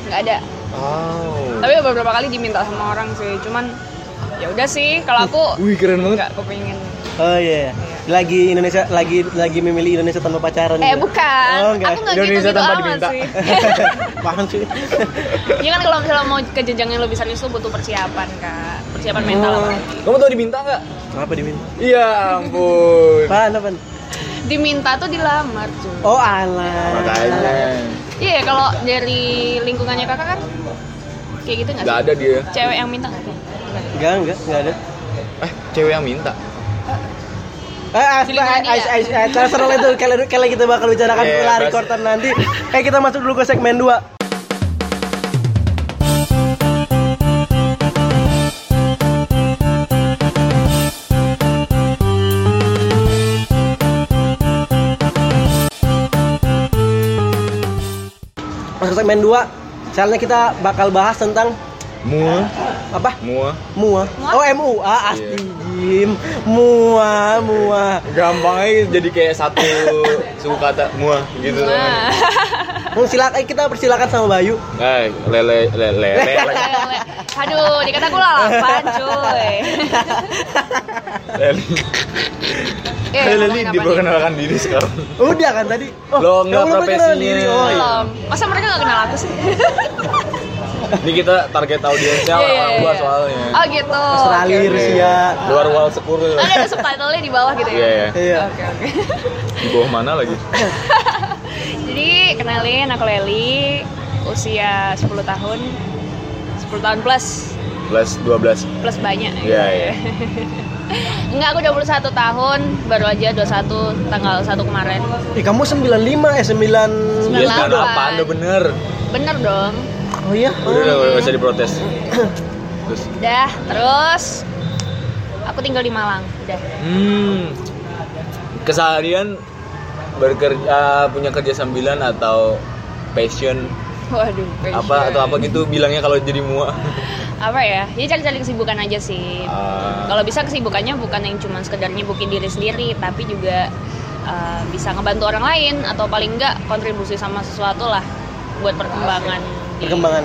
Speaker 3: nggak ada
Speaker 1: Wow.
Speaker 3: tapi beberapa kali diminta sama orang sih cuman ya udah sih kalau aku
Speaker 1: Wih keren banget.
Speaker 3: nggak kepingin
Speaker 2: Oh iya. Lagi Indonesia lagi lagi memilih Indonesia tanpa pacaran.
Speaker 3: eh
Speaker 2: gitu.
Speaker 3: bukan
Speaker 2: Oh, enggak.
Speaker 3: aku nggak gitu
Speaker 1: Indonesia
Speaker 3: gitu
Speaker 1: tanpa
Speaker 3: amat
Speaker 1: diminta.
Speaker 3: sih
Speaker 2: Paham sih.
Speaker 3: ya kan kalau misalnya mau ke jenjang yang lebih serius tuh butuh persiapan kak persiapan mental
Speaker 2: Oh.
Speaker 3: apalagi
Speaker 1: Kamu tau diminta nggak?
Speaker 2: Kenapa diminta?
Speaker 1: Iya ampun.
Speaker 2: Apaan, apaan?
Speaker 3: diminta tuh dilamar cuy
Speaker 2: Oh alah.
Speaker 1: Makanya
Speaker 3: iya kalau dari lingkungannya kakak kan kayak gitu nggak
Speaker 1: nggak
Speaker 3: sih
Speaker 1: ada dia.
Speaker 3: cewek yang minta nggak sih? Nggak ada.
Speaker 2: Enggak, enggak, enggak ada.
Speaker 1: Eh cewek yang minta.
Speaker 2: Eh,
Speaker 3: Feeling
Speaker 2: Asma,
Speaker 3: dia.
Speaker 2: Ais, Ais, Ais, terserah lah itu kalian kalian kita gitu bakal bicarakan
Speaker 1: Iya,
Speaker 2: yeah,
Speaker 1: bahas-
Speaker 2: rekordan nanti. Eh, kita masuk dulu ke segmen 2. Masuk segmen 2. Soalnya kita bakal bahas tentang
Speaker 1: Mua,
Speaker 2: apa?
Speaker 1: mua.
Speaker 2: Mua.
Speaker 3: Mua.
Speaker 2: Oh, MUA
Speaker 1: Iya.
Speaker 2: astagim. Mua, mua.
Speaker 1: Gampang aja jadi kayak satu suku kata mua gitu.
Speaker 3: Wah.
Speaker 2: Mau silakan eh, kita persilakan sama Bayu.
Speaker 1: Eh, lele lele lele lagi.
Speaker 3: Lele. aduh dikata aku lalapan cuy
Speaker 1: lele.
Speaker 3: Eh,
Speaker 1: Lele
Speaker 3: ngomongin apa nih?
Speaker 1: diperkenalkan diri sekarang.
Speaker 2: Udah kan tadi?
Speaker 1: Lo nggak
Speaker 2: ya Allah, perkenalan
Speaker 1: profesinya.
Speaker 2: diri. Oh, iya.
Speaker 3: belum masa mereka nggak kenal aku sih
Speaker 1: Ya, Ini kita target audiensnya
Speaker 3: Iya, iya,
Speaker 1: orang-orang luar
Speaker 3: iya.
Speaker 1: soalnya.
Speaker 3: oh gitu
Speaker 2: Australia,
Speaker 3: Oke, oke.
Speaker 2: Rusia.
Speaker 1: Iya, Luar wal sepuluh.
Speaker 3: Ada ada subtitlenya di bawah gitu ya.
Speaker 1: Iya, iya.
Speaker 2: Iya.
Speaker 3: Oke oke.
Speaker 1: Di bawah mana lagi?
Speaker 3: Jadi kenalin aku Leli, usia 10 tahun. 10 tahun plus,
Speaker 1: Plus 12.
Speaker 3: plus banyak gitu.
Speaker 1: Iya, iya.
Speaker 3: Enggak, aku 21 tahun, baru aja 21 tanggal 1 kemarin.
Speaker 2: Ih, kamu 95 eh 9
Speaker 1: Iya,
Speaker 3: 98.
Speaker 1: sekarang apaan udah bener.
Speaker 3: Bener dong.
Speaker 2: Oh iya.
Speaker 1: Udah udah udah nggak usah diprotes. Terus
Speaker 3: Udah, terus aku tinggal di Malang. Udah.
Speaker 1: hmm keseharian bekerja punya kerja sambilan atau passion
Speaker 3: Waduh, pressure.
Speaker 1: apa atau apa gitu bilangnya kalau jadi mua
Speaker 3: Apa ya? Ya cari-cari kesibukan aja sih.
Speaker 1: Ah,
Speaker 3: Iya. Kalau bisa kesibukannya bukan yang cuma sekedar nyibukin diri sendiri, tapi juga uh, bisa ngebantu orang lain atau paling enggak kontribusi sama sesuatu lah buat perkembangan di,
Speaker 2: Perkembangan.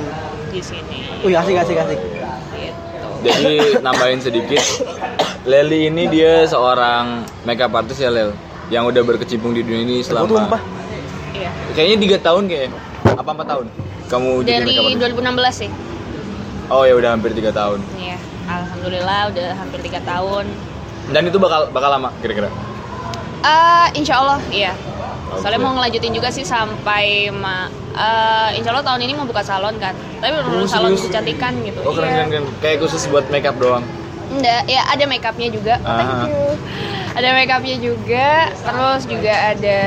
Speaker 3: di sini.
Speaker 2: Wih, asik asik asik.
Speaker 3: Gitu.
Speaker 1: jadi nambahin sedikit Leli ini dia seorang makeup artist ya Lel yang udah berkecimpung di dunia ini
Speaker 2: Aku
Speaker 1: selama
Speaker 2: tumpah.
Speaker 3: Iya.
Speaker 1: kayaknya tiga tahun kayaknya apa empat tahun kamu jadi makeup
Speaker 3: Dari
Speaker 1: artist
Speaker 3: 2016 sih.
Speaker 1: oh ya udah hampir tiga tahun
Speaker 3: Iya. Alhamdulillah udah hampir tiga tahun.
Speaker 1: dan itu bakal bakal lama kira-kira
Speaker 3: Eh, insya Allah, iya. Soalnya
Speaker 1: Oke.
Speaker 3: mau ngelanjutin juga sih sampai ma eh, Insya Allah tahun ini mau buka salon kan, tapi
Speaker 1: Oh,
Speaker 3: belum salon
Speaker 1: serius?
Speaker 3: kecantikan gitu.
Speaker 1: oh keren
Speaker 3: Iya.
Speaker 1: keren keren kayak khusus buat makeup doang
Speaker 3: Enggak, ya ada make upnya juga. Oh,
Speaker 1: Ah.
Speaker 3: thank you. Ada make upnya juga, terus juga ada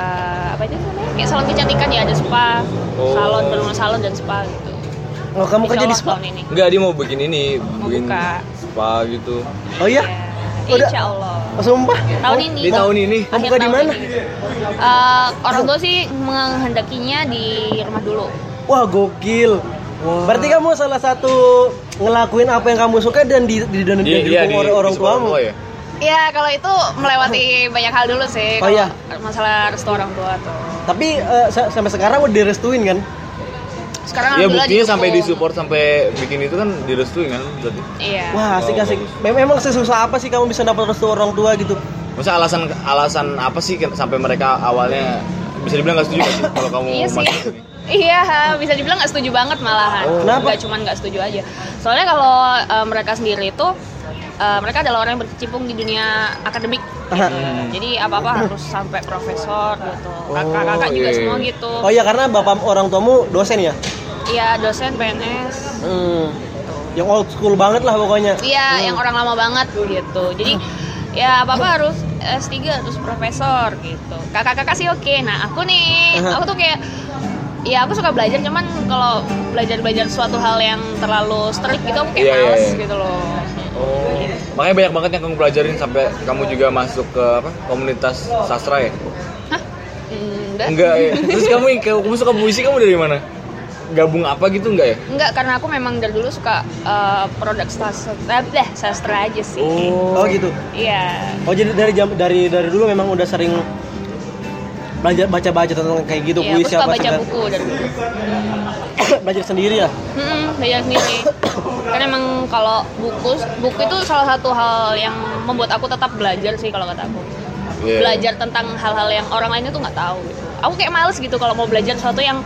Speaker 3: eh, apa aja namanya? Kayak salon kecantikan ya, ada spa,
Speaker 1: Oh.
Speaker 3: salon berlumur salon dan spa gitu.
Speaker 2: Oh, kamu kerja di
Speaker 3: Insyaallah
Speaker 2: spa.
Speaker 3: tahun ini.
Speaker 1: Enggak, dia mau bikin ini,
Speaker 3: Mau
Speaker 1: bikin
Speaker 3: buka.
Speaker 1: spa gitu.
Speaker 2: Oh iya.
Speaker 3: Ya,
Speaker 2: Udah.
Speaker 3: Insya Allah.
Speaker 2: Oh, sumpah.
Speaker 3: Tahun
Speaker 2: Oh,
Speaker 3: ini.
Speaker 1: Di tahun ini.
Speaker 2: Mau
Speaker 3: Akhir
Speaker 2: buka di
Speaker 3: tahun
Speaker 2: mana?
Speaker 3: ini. Eh, orang tua sih menghendakinya di rumah dulu.
Speaker 2: Oh, Wah, gokil. Berarti kamu salah satu ngelakuin apa yang kamu suka dan di di dan
Speaker 1: Dia- iya,
Speaker 2: didukung orang orang
Speaker 1: di sekolah
Speaker 2: tuamu.
Speaker 1: gua ya.
Speaker 3: Ya kalau itu melewati banyak hal dulu sih.
Speaker 2: Oh,
Speaker 3: kalau
Speaker 2: iya.
Speaker 3: Masalah restu orang tua tuh.
Speaker 2: Tapi eh, sa- sampai sekarang udah direstuin kan?
Speaker 3: Sekarang
Speaker 1: Ya
Speaker 3: alhamdulillah
Speaker 1: buktinya sampai
Speaker 3: didukung.
Speaker 1: disupport sampai bikin itu kan direstuin kan berarti.
Speaker 3: Iya.
Speaker 2: Wah, asik
Speaker 1: Oh,
Speaker 2: asik.
Speaker 1: bagus.
Speaker 2: Mem- Memang sesusah apa sih kamu bisa dapat restu orang tua gitu?
Speaker 1: Masa alasan alasan apa sih ken- sampai mereka awalnya bisa dibilang gak setuju gak sih kalau kamu
Speaker 3: Iya sih.
Speaker 1: masuk sini?
Speaker 3: Iya, ha, bisa dibilang nggak setuju banget malahan.
Speaker 1: Oh.
Speaker 2: Kenapa?
Speaker 3: Nggak cuman nggak setuju aja. Soalnya kalau eh, mereka sendiri itu eh, mereka adalah orang yang berkecimpung di dunia akademik. gitu ya. Jadi apa-apa harus sampai profesor gitu. Kakak-kakak juga
Speaker 1: iya.
Speaker 3: semua gitu.
Speaker 2: Oh iya karena bapak orang tuamu dosen ya?
Speaker 3: Iya, dosen PNS.
Speaker 2: Hmm. Yang old school banget lah pokoknya.
Speaker 3: Iya, yang orang lama banget gitu. Jadi ya apa-apa harus S3 harus profesor gitu. Kakak-kakak sih oke. Nah, aku nih,
Speaker 2: Aha.
Speaker 3: aku tuh kayak ya aku suka belajar cuman kalau belajar belajar suatu hal yang terlalu strict gitu aku kayak
Speaker 1: Iya, iya,
Speaker 3: males
Speaker 1: iya.
Speaker 3: gitu loh
Speaker 1: Oh. Makanya banyak banget yang kamu pelajarin sampai kamu juga masuk ke apa? Komunitas sastra ya?
Speaker 3: hah Mm, enggak
Speaker 1: Enggak ya. Terus kamu kamu suka puisi kamu dari mana? Gabung apa gitu enggak ya?
Speaker 3: enggak karena aku memang dari dulu suka eh, produk sastra eh, sastra aja sih
Speaker 2: Oh gitu.
Speaker 3: iya
Speaker 2: Oh jadi dari jam dari dari dulu memang udah sering belajar baca-baca tentang kayak gitu
Speaker 3: Iya, aku
Speaker 2: puisi
Speaker 3: suka
Speaker 2: apa
Speaker 3: baca
Speaker 2: segala-
Speaker 3: buku dari dulu
Speaker 2: belajar sendiri ya.
Speaker 3: Mm-mm, belajar sendiri karena emang kalau buku buku itu salah satu hal yang membuat aku tetap belajar sih kalau kata aku
Speaker 1: Iya.
Speaker 3: belajar tentang hal-hal yang orang lain itu nggak tahu gitu aku kayak males gitu kalau mau belajar sesuatu yang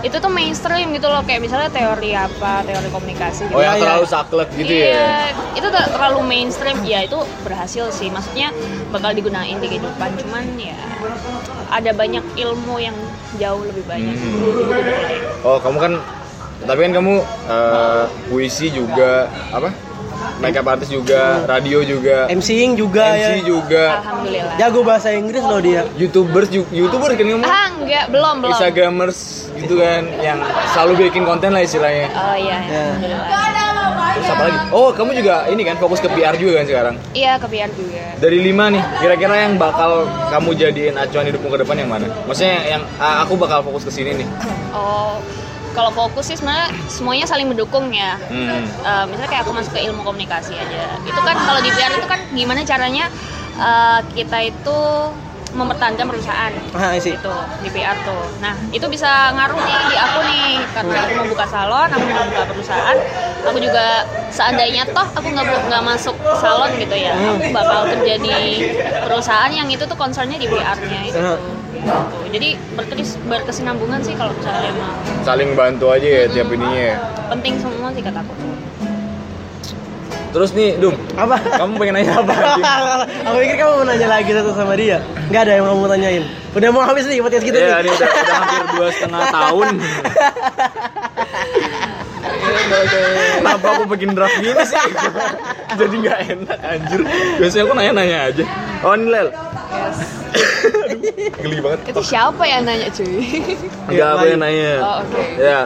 Speaker 3: itu tuh mainstream gitu loh kayak misalnya teori apa teori komunikasi
Speaker 1: Oh
Speaker 3: gitu
Speaker 1: yang
Speaker 2: Iya, iya.
Speaker 1: terlalu saklek gitu ya?
Speaker 3: Iya, itu ter- terlalu mainstream. Ya itu berhasil sih. Maksudnya bakal digunain di kehidupan. Cuman ya ada banyak ilmu yang jauh lebih banyak.
Speaker 1: Oh kamu kan, tapi kan kamu eh, puisi juga apa? Makeup artist juga, radio juga,
Speaker 2: MCing juga
Speaker 1: MC
Speaker 2: ya.
Speaker 1: juga,
Speaker 3: Alhamdulillah.
Speaker 1: Ya.
Speaker 2: Jago bahasa Inggris loh dia.
Speaker 1: youtubers juga, youtuber kan kamu?
Speaker 3: Ah enggak, belum belum.
Speaker 1: Instagramers gitu kan, yang selalu bikin konten lah istilahnya.
Speaker 3: Oh iya,
Speaker 2: Ya.
Speaker 3: alhamdulillah.
Speaker 1: Terus apa lagi? Oh kamu juga ini kan fokus ke PR juga kan sekarang?
Speaker 3: Iya kebiar juga.
Speaker 1: Dari lima nih, kira-kira yang bakal kamu jadiin acuan hidupmu ke depan yang mana? Maksudnya yang, yang, ah, aku bakal fokus ke sini nih.
Speaker 3: Oh kalau fokus sih sebenarnya semuanya saling mendukung ya.
Speaker 1: Hmm.
Speaker 3: Eh, misalnya kayak aku masuk ke ilmu komunikasi aja itu kan kalau di PR itu kan gimana caranya eh, kita itu mempertahankan perusahaan
Speaker 2: Ah, I see.
Speaker 3: itu di PR tuh nah itu bisa ngaruh nih di aku nih karena aku mau buka salon aku mau buka perusahaan aku juga seandainya toh aku nggak bu- nggak masuk salon gitu ya aku bakal kerja di perusahaan yang itu tuh concernnya di PR-nya itu
Speaker 2: Hmm.
Speaker 3: Gitu. jadi berkeris, berkesinambungan sih kalau misalnya mau
Speaker 1: Saling bantu aja ya tiap ininya ya.
Speaker 3: penting semua sih kataku
Speaker 1: Terus nih, Dum,
Speaker 2: Apa?
Speaker 1: kamu pengen nanya apa? Dim?
Speaker 2: Aku pikir kamu mau nanya lagi satu sama dia. Nggak ada yang mau kamu tanyain. Udah mau habis nih podcast kita
Speaker 1: Iya, ini
Speaker 2: nih.
Speaker 1: udah, udah hampir dua setengah tahun. Kenapa aku bikin draft gini sih? Jadi nggak enak, anjir. Biasanya aku nanya-nanya aja. Oh, ini Lel. Aduh, Geli banget.
Speaker 3: Itu siapa yang nanya cuy?
Speaker 1: Enggak,
Speaker 2: Iya,
Speaker 1: aku yang
Speaker 2: baik.
Speaker 1: nanya.
Speaker 3: Oh, oke.
Speaker 1: Ya,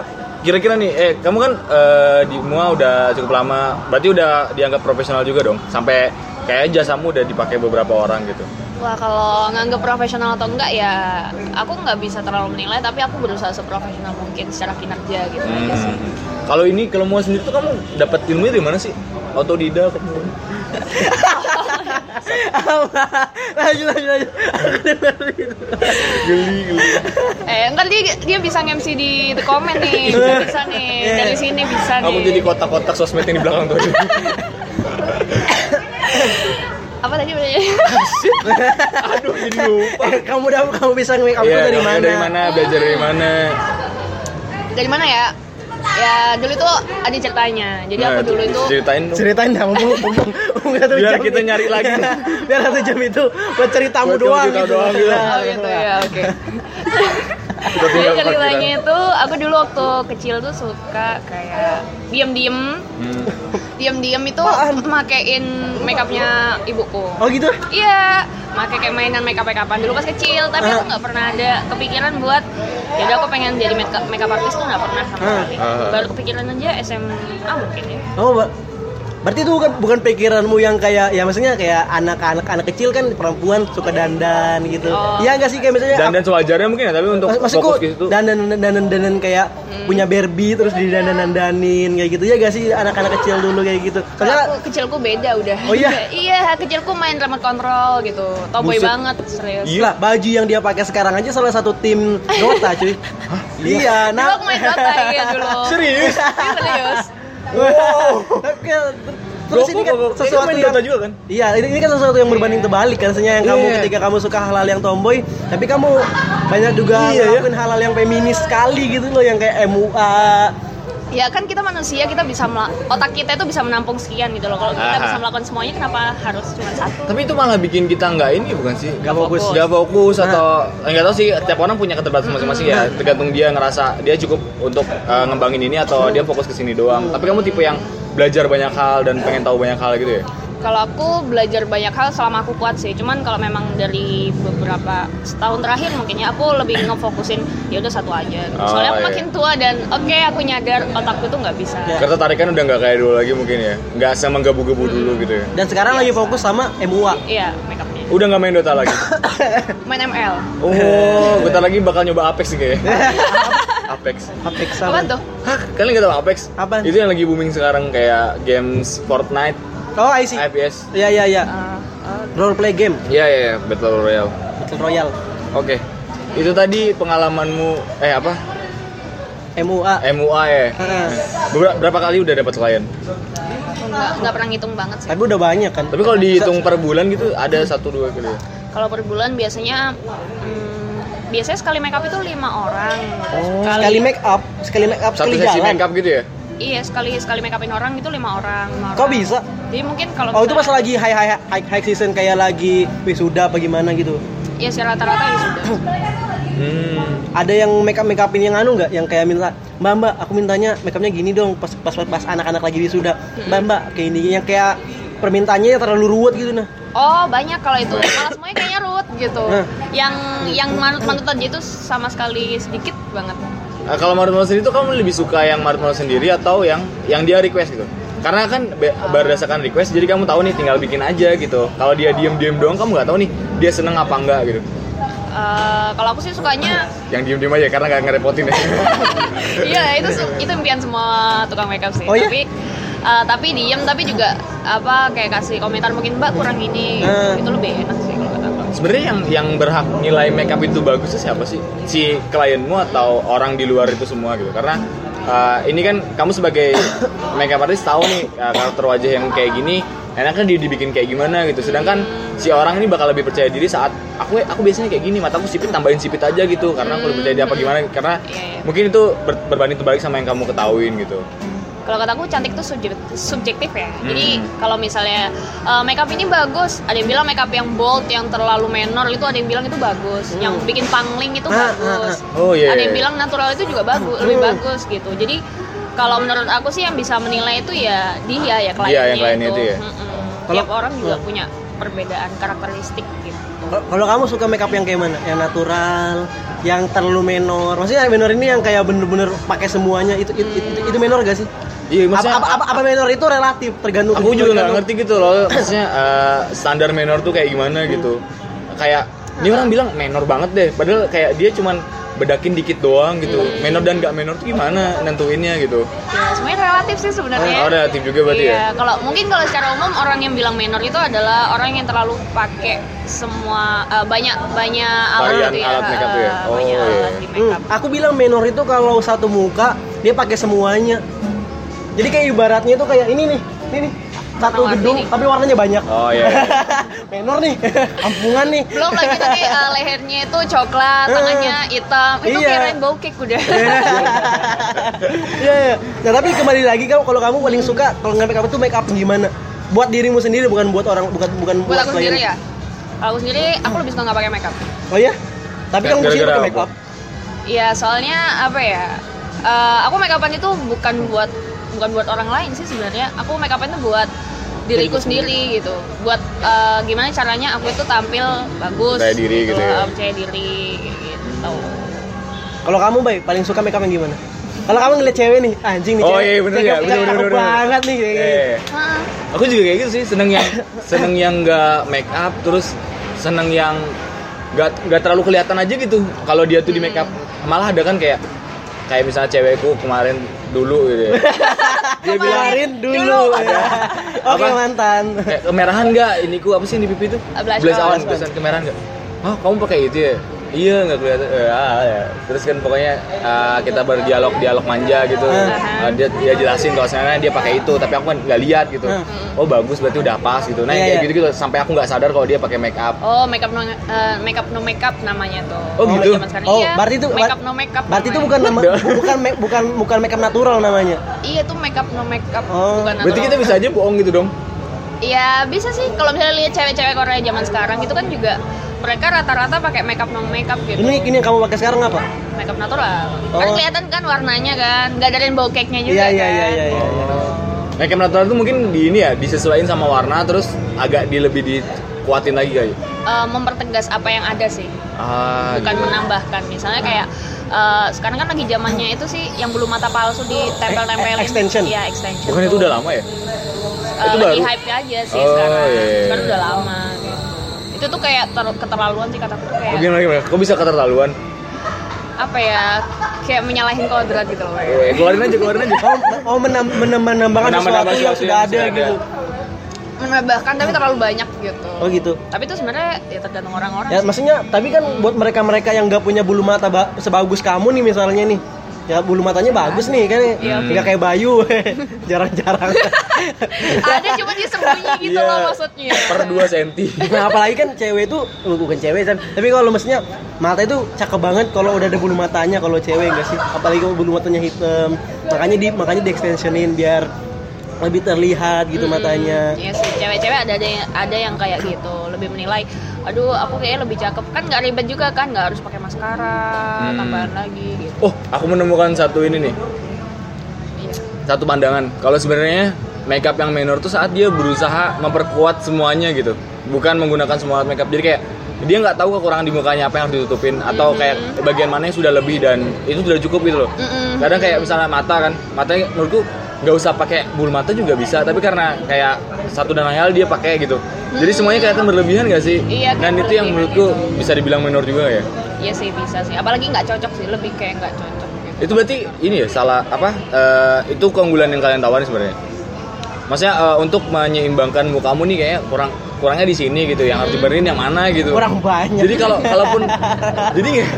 Speaker 1: kira-kira nih, eh kamu kan eh, di MUA udah cukup lama, berarti udah dianggap profesional juga dong. Sampai kayak jasamu udah dipakai beberapa orang gitu.
Speaker 3: Wah kalau nganggep profesional atau enggak ya aku nggak bisa terlalu menilai tapi aku berusaha seprofesional mungkin secara kinerja gitu aja sih.
Speaker 1: Hmm. Kalau ini kalau mau sendiri tuh kamu dapat ilmu dari mana sih? Otodidak kamu.
Speaker 2: lanjut lanjut lanjut. Aku dengar gitu.
Speaker 1: Geli, geli.
Speaker 3: Eh ntar dia, dia bisa MC di the comment nih bisa nih dari sini bisa nih.
Speaker 1: Kamu jadi kotak-kotak sosmed yang di belakang tuh.
Speaker 3: apa tadi bedanya?
Speaker 1: Aduh, jadi lupa.
Speaker 2: Eh, kamu udah kamu bisa nge-make up
Speaker 1: Iya,
Speaker 2: tuh dari
Speaker 1: kamu
Speaker 2: mana?
Speaker 1: Dari mana? Belajar dari mana?
Speaker 3: dari mana ya? Ya dulu tuh ada ceritanya jadi aku
Speaker 1: Nah,
Speaker 3: dulu itu
Speaker 1: ceritain dong.
Speaker 2: Ceritain dah, mumpung mumpung mumpung satu
Speaker 1: Biar
Speaker 2: jam
Speaker 1: kita
Speaker 2: nih.
Speaker 1: nyari lagi.
Speaker 2: Biar satu jam itu buat ceritamu
Speaker 1: Buat
Speaker 2: doang
Speaker 1: cerita
Speaker 2: gitu.
Speaker 1: doang gitu.
Speaker 3: Oh gitu
Speaker 2: Iya.
Speaker 3: ya oke.
Speaker 1: Kita
Speaker 3: Jadi
Speaker 1: tinggal
Speaker 3: ceritanya
Speaker 1: parkiran.
Speaker 3: itu aku dulu waktu kecil tuh suka kayak diem-diem
Speaker 1: Hmm.
Speaker 3: diam-diam itu makein makeupnya ibuku
Speaker 2: Oh gitu?
Speaker 3: iya make kayak mainan makeup makeupan dulu pas kecil tapi
Speaker 2: Ah.
Speaker 3: aku nggak pernah ada kepikiran buat jadi aku pengen jadi makeup makeup artist tuh nggak pernah sama
Speaker 2: Ah.
Speaker 3: sekali
Speaker 1: Ah.
Speaker 3: baru kepikiran aja SMA mungkin ya
Speaker 2: Oh, ber- berarti itu bukan, bukan pikiranmu yang kayak ya maksudnya kayak anak-anak anak kecil kan perempuan suka dandan gitu.
Speaker 3: iya. Oh.
Speaker 2: Iya enggak sih kayak misalnya
Speaker 1: Dan dan sewajarnya mungkin ya, tapi untuk gitu.
Speaker 2: Mas-
Speaker 1: fokus
Speaker 2: maksudku
Speaker 1: ke situ.
Speaker 2: dandan dandan dandan kayak
Speaker 3: Hmm.
Speaker 2: punya Barbie terus
Speaker 3: Iya.
Speaker 2: didandan-dandanin kayak gitu ya gak sih anak-anak kecil dulu kayak gitu.
Speaker 3: Kalau
Speaker 2: Soalnya
Speaker 3: aku kecilku beda udah
Speaker 2: Oh iya?
Speaker 3: iya kecilku main remote control gitu tomboy
Speaker 1: Buset.
Speaker 3: banget serius
Speaker 1: Iya.
Speaker 2: Gila, baju yang dia pakai sekarang aja salah satu tim Dota cuy. Iya,
Speaker 3: dulu aku main Dota iya dulu
Speaker 1: Serius?
Speaker 3: Iya, serius
Speaker 1: Wow.
Speaker 2: Tapi, Terus ini kan
Speaker 1: Rokok, ini
Speaker 2: sesuatu
Speaker 1: kan main
Speaker 2: yang
Speaker 1: Dota juga kan?
Speaker 2: Iya, ini, ini kan sesuatu yang berbanding
Speaker 3: Iya.
Speaker 2: terbalik kan, Maksudnya yang kamu
Speaker 1: Iya.
Speaker 2: ketika kamu suka halal yang tomboy, tapi kamu banyak juga
Speaker 1: Iya, ya.
Speaker 2: ngelakuin halal yang feminis sekali gitu loh, yang kayak MUA.
Speaker 3: Ya kan kita manusia kita bisa mela- otak kita itu bisa menampung sekian gitu loh. Kalau kita
Speaker 1: Aha.
Speaker 3: bisa melakukan semuanya kenapa harus cuma satu?
Speaker 1: Tapi itu malah bikin kita nggak ini bukan sih?
Speaker 2: Nggak fokus.
Speaker 1: Nggak fokus
Speaker 2: Nah.
Speaker 1: atau nggak tahu sih. Tiap orang punya keterbatasan masing-masing ya. Tergantung dia ngerasa dia cukup untuk eh, ngembangin ini atau dia fokus ke sini doang. Tapi kamu tipe yang belajar banyak hal dan pengen tahu banyak hal gitu ya?
Speaker 3: Kalau aku belajar banyak hal selama aku kuat sih. Cuman kalau memang dari beberapa setahun terakhir mungkinnya aku lebih ngefokusin ya udah satu aja. gitu.
Speaker 1: Oh,
Speaker 3: Soalnya aku
Speaker 1: iya.
Speaker 3: makin tua dan oke aku nyadar otakku tuh nggak bisa.
Speaker 2: Ya.
Speaker 1: Ketertarikan udah nggak kayak dulu lagi mungkin ya. Nggak sama menggebu-gebu dulu gitu ya.
Speaker 2: Dan sekarang lagi fokus sama MUA.
Speaker 3: Iya, makeupnya.
Speaker 1: Udah nggak main Dota lagi.
Speaker 3: Main ML.
Speaker 1: Oh, bentar lagi bakal nyoba Apex sih kayaknya. Apex.
Speaker 2: Apex sama.
Speaker 3: Apa tuh?
Speaker 1: Hah, kalian nggak tahu Apex?
Speaker 2: Apaan?
Speaker 1: Itu yang lagi booming sekarang kayak games Fortnite,
Speaker 2: Oh, I see.
Speaker 1: FPS.
Speaker 2: Ya ya ya.
Speaker 3: Ah, ah,
Speaker 2: Role play game,
Speaker 1: Iya, iya, iya, Battle Royale.
Speaker 2: Battle Royale,
Speaker 1: Oke. Itu tadi pengalamanmu eh apa?
Speaker 2: MUA.
Speaker 1: MUA ya.
Speaker 2: Heeh.
Speaker 1: Berapa, berapa kali udah dapat klien?
Speaker 3: nggak nggak pernah ngitung banget sih.
Speaker 2: Tapi udah banyak kan.
Speaker 1: Tapi kalau dihitung per bulan gitu ada satu dua kali. ya?
Speaker 3: Kalau per bulan biasanya hmm, biasanya sekali makeup itu lima orang.
Speaker 2: Oh, sekali make up, sekali make up,
Speaker 1: Satu
Speaker 2: sekali
Speaker 1: sesi
Speaker 2: jalan.
Speaker 1: makeup gitu ya?
Speaker 3: Iya sekali sekali make upin orang itu lima orang. lima
Speaker 2: Kok
Speaker 3: orang.
Speaker 2: bisa?
Speaker 3: Jadi mungkin kalau
Speaker 2: Oh, itu pas
Speaker 3: misalnya-
Speaker 2: lagi high high high, high season kayak lagi wisuda apa gimana gitu.
Speaker 3: Iya sih rata-rata ya sudah.
Speaker 1: Hmm.
Speaker 2: Ada yang make up make upin yang anu nggak? Yang kayak minta, mbak mbak, aku mintanya make upnya gini dong. Pas pas pas, pas anak-anak lagi wisuda, mbak mbak kayak ini yang kayak permintaannya terlalu ruwet gitu nah.
Speaker 3: Oh banyak kalau itu malah semuanya kayaknya ruwet gitu.
Speaker 2: Nah.
Speaker 3: Yang yang manut-manut aja itu sama sekali sedikit banget.
Speaker 1: Nah, kalau Marut Marut sendiri tuh kamu lebih suka yang Marut Marut sendiri atau yang yang dia request gitu? Karena kan be- berdasarkan request jadi kamu tahu nih tinggal bikin aja gitu. Kalau dia diem-diem doang kamu nggak tahu nih dia seneng apa enggak gitu.
Speaker 3: Eh, kalau aku sih sukanya,
Speaker 1: Yang diem-diem aja karena nggak ngerepotin ya.
Speaker 3: iya itu su- itu impian semua tukang makeup sih.
Speaker 2: Oh, iya?
Speaker 3: Tapi eh, tapi diem tapi juga apa kayak kasih komentar mungkin mbak kurang ini
Speaker 2: Nah.
Speaker 3: itu lebih enak sih kalau kata aku.
Speaker 1: Sebenarnya yang yang berhak nilai makeup itu bagus tuh siapa sih? Si klienmu atau orang di luar itu semua gitu. Karena uh, ini kan kamu sebagai makeup artist tahu nih uh, karakter wajah yang kayak gini enaknya di- dibikin kayak gimana gitu. Sedangkan si orang ini bakal lebih percaya diri saat aku aku biasanya kayak gini, mataku sipit tambahin sipit aja gitu karena aku lebih percaya dia apa gimana karena
Speaker 2: Hmm,
Speaker 3: Iya, iya.
Speaker 1: mungkin itu ber, berbanding terbalik sama yang kamu ketahuin gitu.
Speaker 3: kalau kata aku cantik tuh subjek- subjektif ya jadi
Speaker 1: Hmm.
Speaker 3: kalau misalnya eh, makeup ini bagus ada yang bilang makeup yang bold yang terlalu menor itu ada yang bilang itu bagus yang bikin pangling itu
Speaker 2: Ah,
Speaker 3: bagus
Speaker 1: Hmm. ah, ah. Oh, iya,
Speaker 3: ada yang
Speaker 1: iya.
Speaker 3: bilang natural itu juga bagus lebih
Speaker 2: Hmm.
Speaker 3: bagus gitu jadi kalau menurut aku sih yang bisa menilai itu ya dia ya kliennya
Speaker 1: yang kliennya itu ya.
Speaker 3: Mm-mm.
Speaker 2: Kalau-
Speaker 3: tiap orang juga
Speaker 2: Hmm.
Speaker 3: punya perbedaan karakteristik gitu
Speaker 2: Kalau- Kalau kamu suka makeup yang kayak mana? Yang natural, yang terlalu menor. Maksudnya yang menor ini yang kayak bener-bener pakai semuanya itu itu, itu, itu menor gak sih?
Speaker 1: Iya,
Speaker 2: Apa, apa, apa, apa menor itu relatif tergantung.
Speaker 1: aku juga nggak
Speaker 2: tergantung-
Speaker 1: ngerti gitu loh maksudnya eh, standar menor tuh kayak gimana gitu kayak ini orang bilang menor banget deh padahal kayak dia cuman bedakin dikit doang gitu menor dan nggak menor tuh gimana nentuinnya gitu
Speaker 3: Ya, semuanya relatif sih sebenarnya.
Speaker 1: Oh, relatif juga berarti
Speaker 3: iya, kalau mungkin kalau secara umum orang yang bilang minor itu adalah orang yang terlalu pakai semua eh, banyak banyak alat
Speaker 1: Varian
Speaker 3: gitu
Speaker 1: alat makeup tuh ya?
Speaker 3: eh,
Speaker 1: Oh,
Speaker 3: banyak
Speaker 1: iya.
Speaker 3: alat di
Speaker 2: Hmm,
Speaker 3: makeup.
Speaker 2: aku bilang menor itu kalau satu muka dia pakai semuanya. Jadi kayak ibaratnya itu kayak ini nih, ini nih satu
Speaker 3: Warna
Speaker 2: gedung
Speaker 3: ini.
Speaker 2: tapi warnanya banyak.
Speaker 1: oh iya
Speaker 2: menor nih, ampungan nih.
Speaker 3: Belum lagi tadi eh, lehernya itu coklat,
Speaker 2: Eh,
Speaker 3: tangannya hitam. Itu
Speaker 2: iya. Eh,
Speaker 3: kayak rainbow cake udah.
Speaker 2: Iya, iya. Nah, tapi kembali lagi kamu kalau kamu paling suka kalau nggak make up itu make up gimana? Buat dirimu sendiri bukan buat orang bukan bukan
Speaker 3: Buat aku
Speaker 2: klien.
Speaker 3: sendiri ya. Kalau aku sendiri aku lebih suka nggak pakai makeup.
Speaker 2: Oh ya? Tapi kamu sendiri
Speaker 1: Gara-gara
Speaker 2: pakai make
Speaker 1: apa?
Speaker 2: up.
Speaker 3: Iya, soalnya apa ya? eh, aku make upan itu bukan buat bukan buat orang lain sih sebenarnya. Aku make upan itu buat diriku sendiri gitu. Buat eh, gimana caranya aku itu tampil bagus.
Speaker 1: Percaya diri gitu ya.
Speaker 3: eh, Percaya diri gitu.
Speaker 2: Kalau kamu baik paling suka make up yang gimana? Kalau kamu ngeliat cewek nih, "Ah, anjing nih
Speaker 1: Oh,
Speaker 2: cewek.
Speaker 1: iya, bener ya,
Speaker 2: cakep-
Speaker 1: bener,
Speaker 2: cakep
Speaker 1: bener, bener.
Speaker 2: banget nih. kayak gini.
Speaker 1: Eh,
Speaker 3: Hah,
Speaker 1: aku juga kayak gitu sih seneng yang seneng yang nggak make up terus seneng yang nggak nggak terlalu kelihatan aja gitu kalau dia tuh di make up malah ada kan kayak kayak misalnya cewekku kemarin dulu gitu ya. dia bilang
Speaker 2: Kemarin dulu. ya. Oke,
Speaker 1: Apa?
Speaker 2: mantan.
Speaker 1: kayak kemerahan nggak ini ku apa sih yang di pipi tuh
Speaker 3: Ah, blush
Speaker 1: on
Speaker 3: on.
Speaker 1: blush on kemerahan nggak oh kamu pakai itu ya iya nggak kelihatan Eh, ah, ya. terus kan pokoknya ah, kita berdialog dialog manja gitu
Speaker 2: Ah.
Speaker 1: Ah, dia dia jelasin kalau sana dia pakai itu tapi aku kan nggak lihat gitu
Speaker 2: Ah.
Speaker 1: oh bagus berarti udah pas gitu nah
Speaker 2: Iya,
Speaker 1: kayak
Speaker 2: iya. Nah,
Speaker 1: gitu gitu sampai aku nggak sadar kalau dia pakai make up
Speaker 3: Oh, makeup no eh, makeup no makeup namanya tuh.
Speaker 1: Oh, gitu?
Speaker 3: zaman sekarang.
Speaker 2: Oh,
Speaker 3: Iya,
Speaker 2: berarti itu
Speaker 3: makeup no makeup.
Speaker 2: Berarti itu
Speaker 3: namanya.
Speaker 2: bukan nama,
Speaker 1: Udah.
Speaker 2: bukan make, bukan bukan make up natural namanya.
Speaker 3: Iya, itu makeup no makeup
Speaker 2: Oh,
Speaker 3: bukan
Speaker 1: berarti
Speaker 3: natural.
Speaker 1: kita bisa aja bohong gitu dong
Speaker 3: Iya bisa sih kalau misalnya lihat cewek-cewek Korea zaman sekarang itu kan juga mereka rata-rata pakai makeup non makeup gitu.
Speaker 2: Ini ini yang kamu pakai sekarang apa?
Speaker 3: makeup natural.
Speaker 2: Oh.
Speaker 3: Kan kelihatan kan warnanya kan, nggak ada rainbow cake-nya juga
Speaker 2: Iya, iya,
Speaker 3: kan.
Speaker 2: iya, iya, iya.
Speaker 1: Oh. Make up natural itu mungkin di ini ya, disesuaikan sama warna terus agak di lebih dikuatin lagi kayak.
Speaker 3: Eh, mempertegas apa yang ada sih
Speaker 1: Ah,
Speaker 3: bukan
Speaker 1: gitu.
Speaker 3: menambahkan misalnya kayak eh, sekarang kan lagi zamannya itu sih yang belum mata palsu ditempel-tempelin
Speaker 2: Eh, extension.
Speaker 3: iya extension
Speaker 1: Bukan itu udah lama ya?
Speaker 2: Iya.
Speaker 3: Eh,
Speaker 1: itu
Speaker 3: lagi
Speaker 1: baru?
Speaker 3: hype aja sih
Speaker 1: Oh,
Speaker 3: sekarang
Speaker 1: iya, iya.
Speaker 3: sekarang udah lama gitu. itu tuh kayak ter- keterlaluan sih kataku tuh kayak
Speaker 1: Bagaimana gimana? Kok bisa keterlaluan?
Speaker 3: apa ya kayak menyalahin kodrat gitu loh
Speaker 1: Eh, keluarin aja, keluarin aja.
Speaker 2: mau mau Oh, menam- menam- menambahkan
Speaker 1: Menambah-nambah
Speaker 2: sesuatu yang
Speaker 1: sesuatu
Speaker 2: sudah
Speaker 1: yang
Speaker 2: ada
Speaker 1: sudah ada.
Speaker 2: gitu
Speaker 3: menambahkan tapi terlalu banyak gitu
Speaker 2: oh gitu
Speaker 3: tapi itu sebenarnya ya tergantung orang-orang
Speaker 2: ya
Speaker 3: sih.
Speaker 2: maksudnya tapi kan buat mereka-mereka yang nggak punya bulu mata ba- sebagus kamu nih misalnya nih ya bulu matanya bagus nih kan
Speaker 1: Iya.
Speaker 2: nggak kayak Bayu jarang-jarang
Speaker 3: ada cuma disembunyi gitu
Speaker 1: Iya.
Speaker 3: loh maksudnya
Speaker 1: Per 2 cm.
Speaker 2: nah apalagi kan cewek itu lu bukan cewek kan tapi kalau maksudnya mata itu cakep banget kalau udah ada bulu matanya kalau cewek enggak sih apalagi kalau bulu matanya hitam makanya di makanya di extensionin biar lebih terlihat gitu matanya
Speaker 3: Iya sih, cewek-cewek ada ada yang, ada yang kayak gitu, lebih menilai, aduh aku kayaknya lebih cakep kan nggak ribet juga kan, nggak harus pakai maskara,
Speaker 1: Hmm.
Speaker 3: tambahan lagi gitu.
Speaker 1: Oh, aku menemukan satu ini nih.
Speaker 3: Iya.
Speaker 1: Satu pandangan. Kalau sebenarnya makeup yang minor tuh saat dia berusaha memperkuat semuanya gitu. Bukan menggunakan semua alat makeup. Jadi kayak dia nggak tahu kekurangan di mukanya apa yang harus ditutupin atau kayak bagian mana yang sudah lebih dan itu sudah cukup gitu loh.
Speaker 3: Mm-mm.
Speaker 1: Kadang kayak misalnya mata kan, matanya menurutku nggak usah pakai bulu mata juga bisa, tapi karena kayak satu dan lain hal dia pakai gitu. Jadi semuanya kelihatan berlebihan gak sih?
Speaker 3: Iya,
Speaker 1: dan
Speaker 3: kayak
Speaker 1: itu yang
Speaker 3: berlebihan
Speaker 1: menurutku bisa dibilang minor juga ya.
Speaker 3: Iya sih bisa sih, apalagi nggak cocok sih, lebih kayak nggak cocok gitu.
Speaker 1: Itu berarti ini ya salah apa? eh, itu keunggulan yang kalian tawarin sebenarnya. Maksudnya eh, untuk menyeimbangkan mukamu nih kayaknya kurang kurangnya di sini gitu, yang harus dibenerin yang mana gitu.
Speaker 2: kurang banyak
Speaker 1: Jadi kalau kalaupun jadi nggak-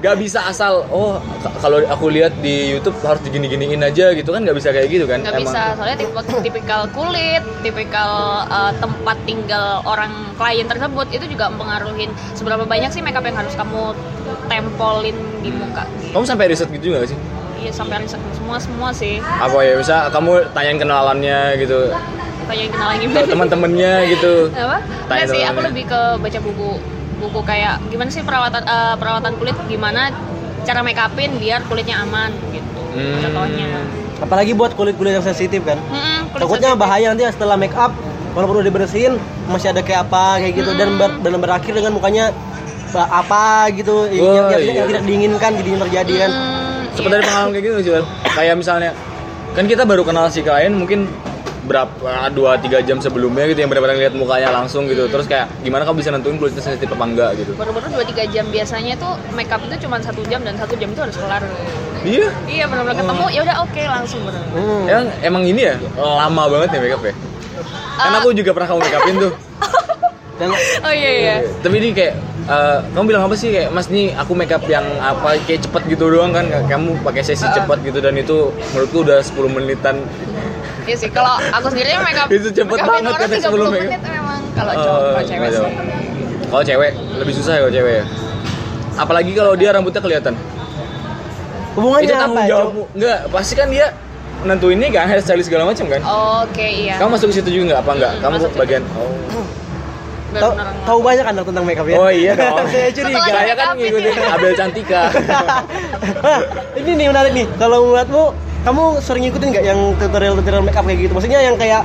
Speaker 1: nggak bisa asal oh ka- kalau aku lihat di YouTube harus digini-giniin aja gitu kan nggak bisa kayak gitu kan?
Speaker 3: Nggak bisa, soalnya tipe, tipikal kulit, tipikal eh, tempat tinggal orang klien tersebut itu juga mempengaruhi seberapa banyak sih makeup yang harus kamu tempolin di
Speaker 1: Hmm.
Speaker 3: muka. Gitu.
Speaker 1: Kamu sampai riset gitu juga gak sih?
Speaker 3: Iya sampai riset semua semua sih,
Speaker 1: Apa ya bisa kamu tanyain kenalannya gitu,
Speaker 3: kayak kenal lagi.
Speaker 1: atau teman-temannya gitu.
Speaker 3: apa?
Speaker 1: Tanya
Speaker 3: Nggak sih,
Speaker 1: doang
Speaker 3: aku
Speaker 1: ya.
Speaker 3: lebih ke baca buku buku kayak gimana sih perawatan eh, perawatan kulit gimana cara make upin biar kulitnya aman gitu
Speaker 1: Hmm.
Speaker 3: contohnya
Speaker 2: apalagi buat kulit-kulit yang sensitif kan
Speaker 3: Mm-mm, kulit
Speaker 2: takutnya
Speaker 3: sensitif.
Speaker 2: bahaya nanti setelah make up walaupun udah dibersihin masih ada kayak apa kayak gitu
Speaker 3: Hmm.
Speaker 2: dan ber- dan berakhir dengan mukanya ba- apa gitu yang,
Speaker 1: Wah,
Speaker 2: yang- yang-
Speaker 1: iya.
Speaker 2: yang tidak diinginkan jadinya terjadi kan
Speaker 3: Mm,
Speaker 1: Sempat
Speaker 3: iya.
Speaker 1: ada pengalaman kayak gitu nggak sih, Bel? Kayak misalnya kan kita baru kenal si klien mungkin berapa dua tiga jam sebelumnya gitu yang benar-benar lihat mukanya langsung gitu terus kayak gimana kamu bisa nentuin kulitnya sensitif apa enggak gitu
Speaker 3: baru-baru dua tiga jam biasanya tuh make up itu cuma satu jam dan satu jam itu harus kelar
Speaker 1: iya
Speaker 3: iya benar-benar
Speaker 2: Oh.
Speaker 3: ketemu ya udah oke langsung bener
Speaker 2: Hmm.
Speaker 1: emang emang ini ya lama banget ya makeup ya kan aku juga pernah kamu make upin tuh
Speaker 2: dan
Speaker 3: oh iya iya
Speaker 1: tapi ini kayak eh, kamu bilang apa sih kayak mas nih aku makeup yang apa kayak cepet gitu doang kan kamu pakai sesi cepet gitu dan itu menurutku udah 10 menitan
Speaker 3: iya sih kalau aku sendiri make up
Speaker 1: Itu cepet
Speaker 3: make upin
Speaker 1: banget
Speaker 3: orang
Speaker 1: kata
Speaker 3: 30
Speaker 1: sebelum make up.
Speaker 3: menit memang kalau cowok
Speaker 1: Eh,
Speaker 3: kalau cewek
Speaker 1: nggak
Speaker 3: sih
Speaker 1: jawab. Kalau cewek lebih susah ya kalau cewek ya. Apalagi kalau dia rambutnya kelihatan.
Speaker 3: Oh,
Speaker 2: hubungannya
Speaker 1: itu
Speaker 2: apa
Speaker 1: tanggung
Speaker 2: ya,
Speaker 1: jawabmu. Enggak, pasti kan dia nentuin ini kan hairstyle segala macam kan.
Speaker 3: oke iya
Speaker 1: Kamu masuk ke situ juga nggak apa enggak?
Speaker 3: Mm,
Speaker 1: Kamu
Speaker 3: masuk situ.
Speaker 1: bagian oh.
Speaker 2: Cok? Tau-
Speaker 3: Bener-bener
Speaker 2: tahu banyak kan dok tentang makeup ya
Speaker 1: Oh iya dong.
Speaker 2: saya curiga
Speaker 3: Setelah
Speaker 1: Saya
Speaker 3: make
Speaker 1: kan
Speaker 3: upin
Speaker 1: ngikutin
Speaker 3: ya.
Speaker 1: Abel Cantika.
Speaker 2: Hah, ini nih menarik nih kalau menurutmu kamu sering ngikutin nggak yang tutorial tutorial make up kayak gitu maksudnya yang kayak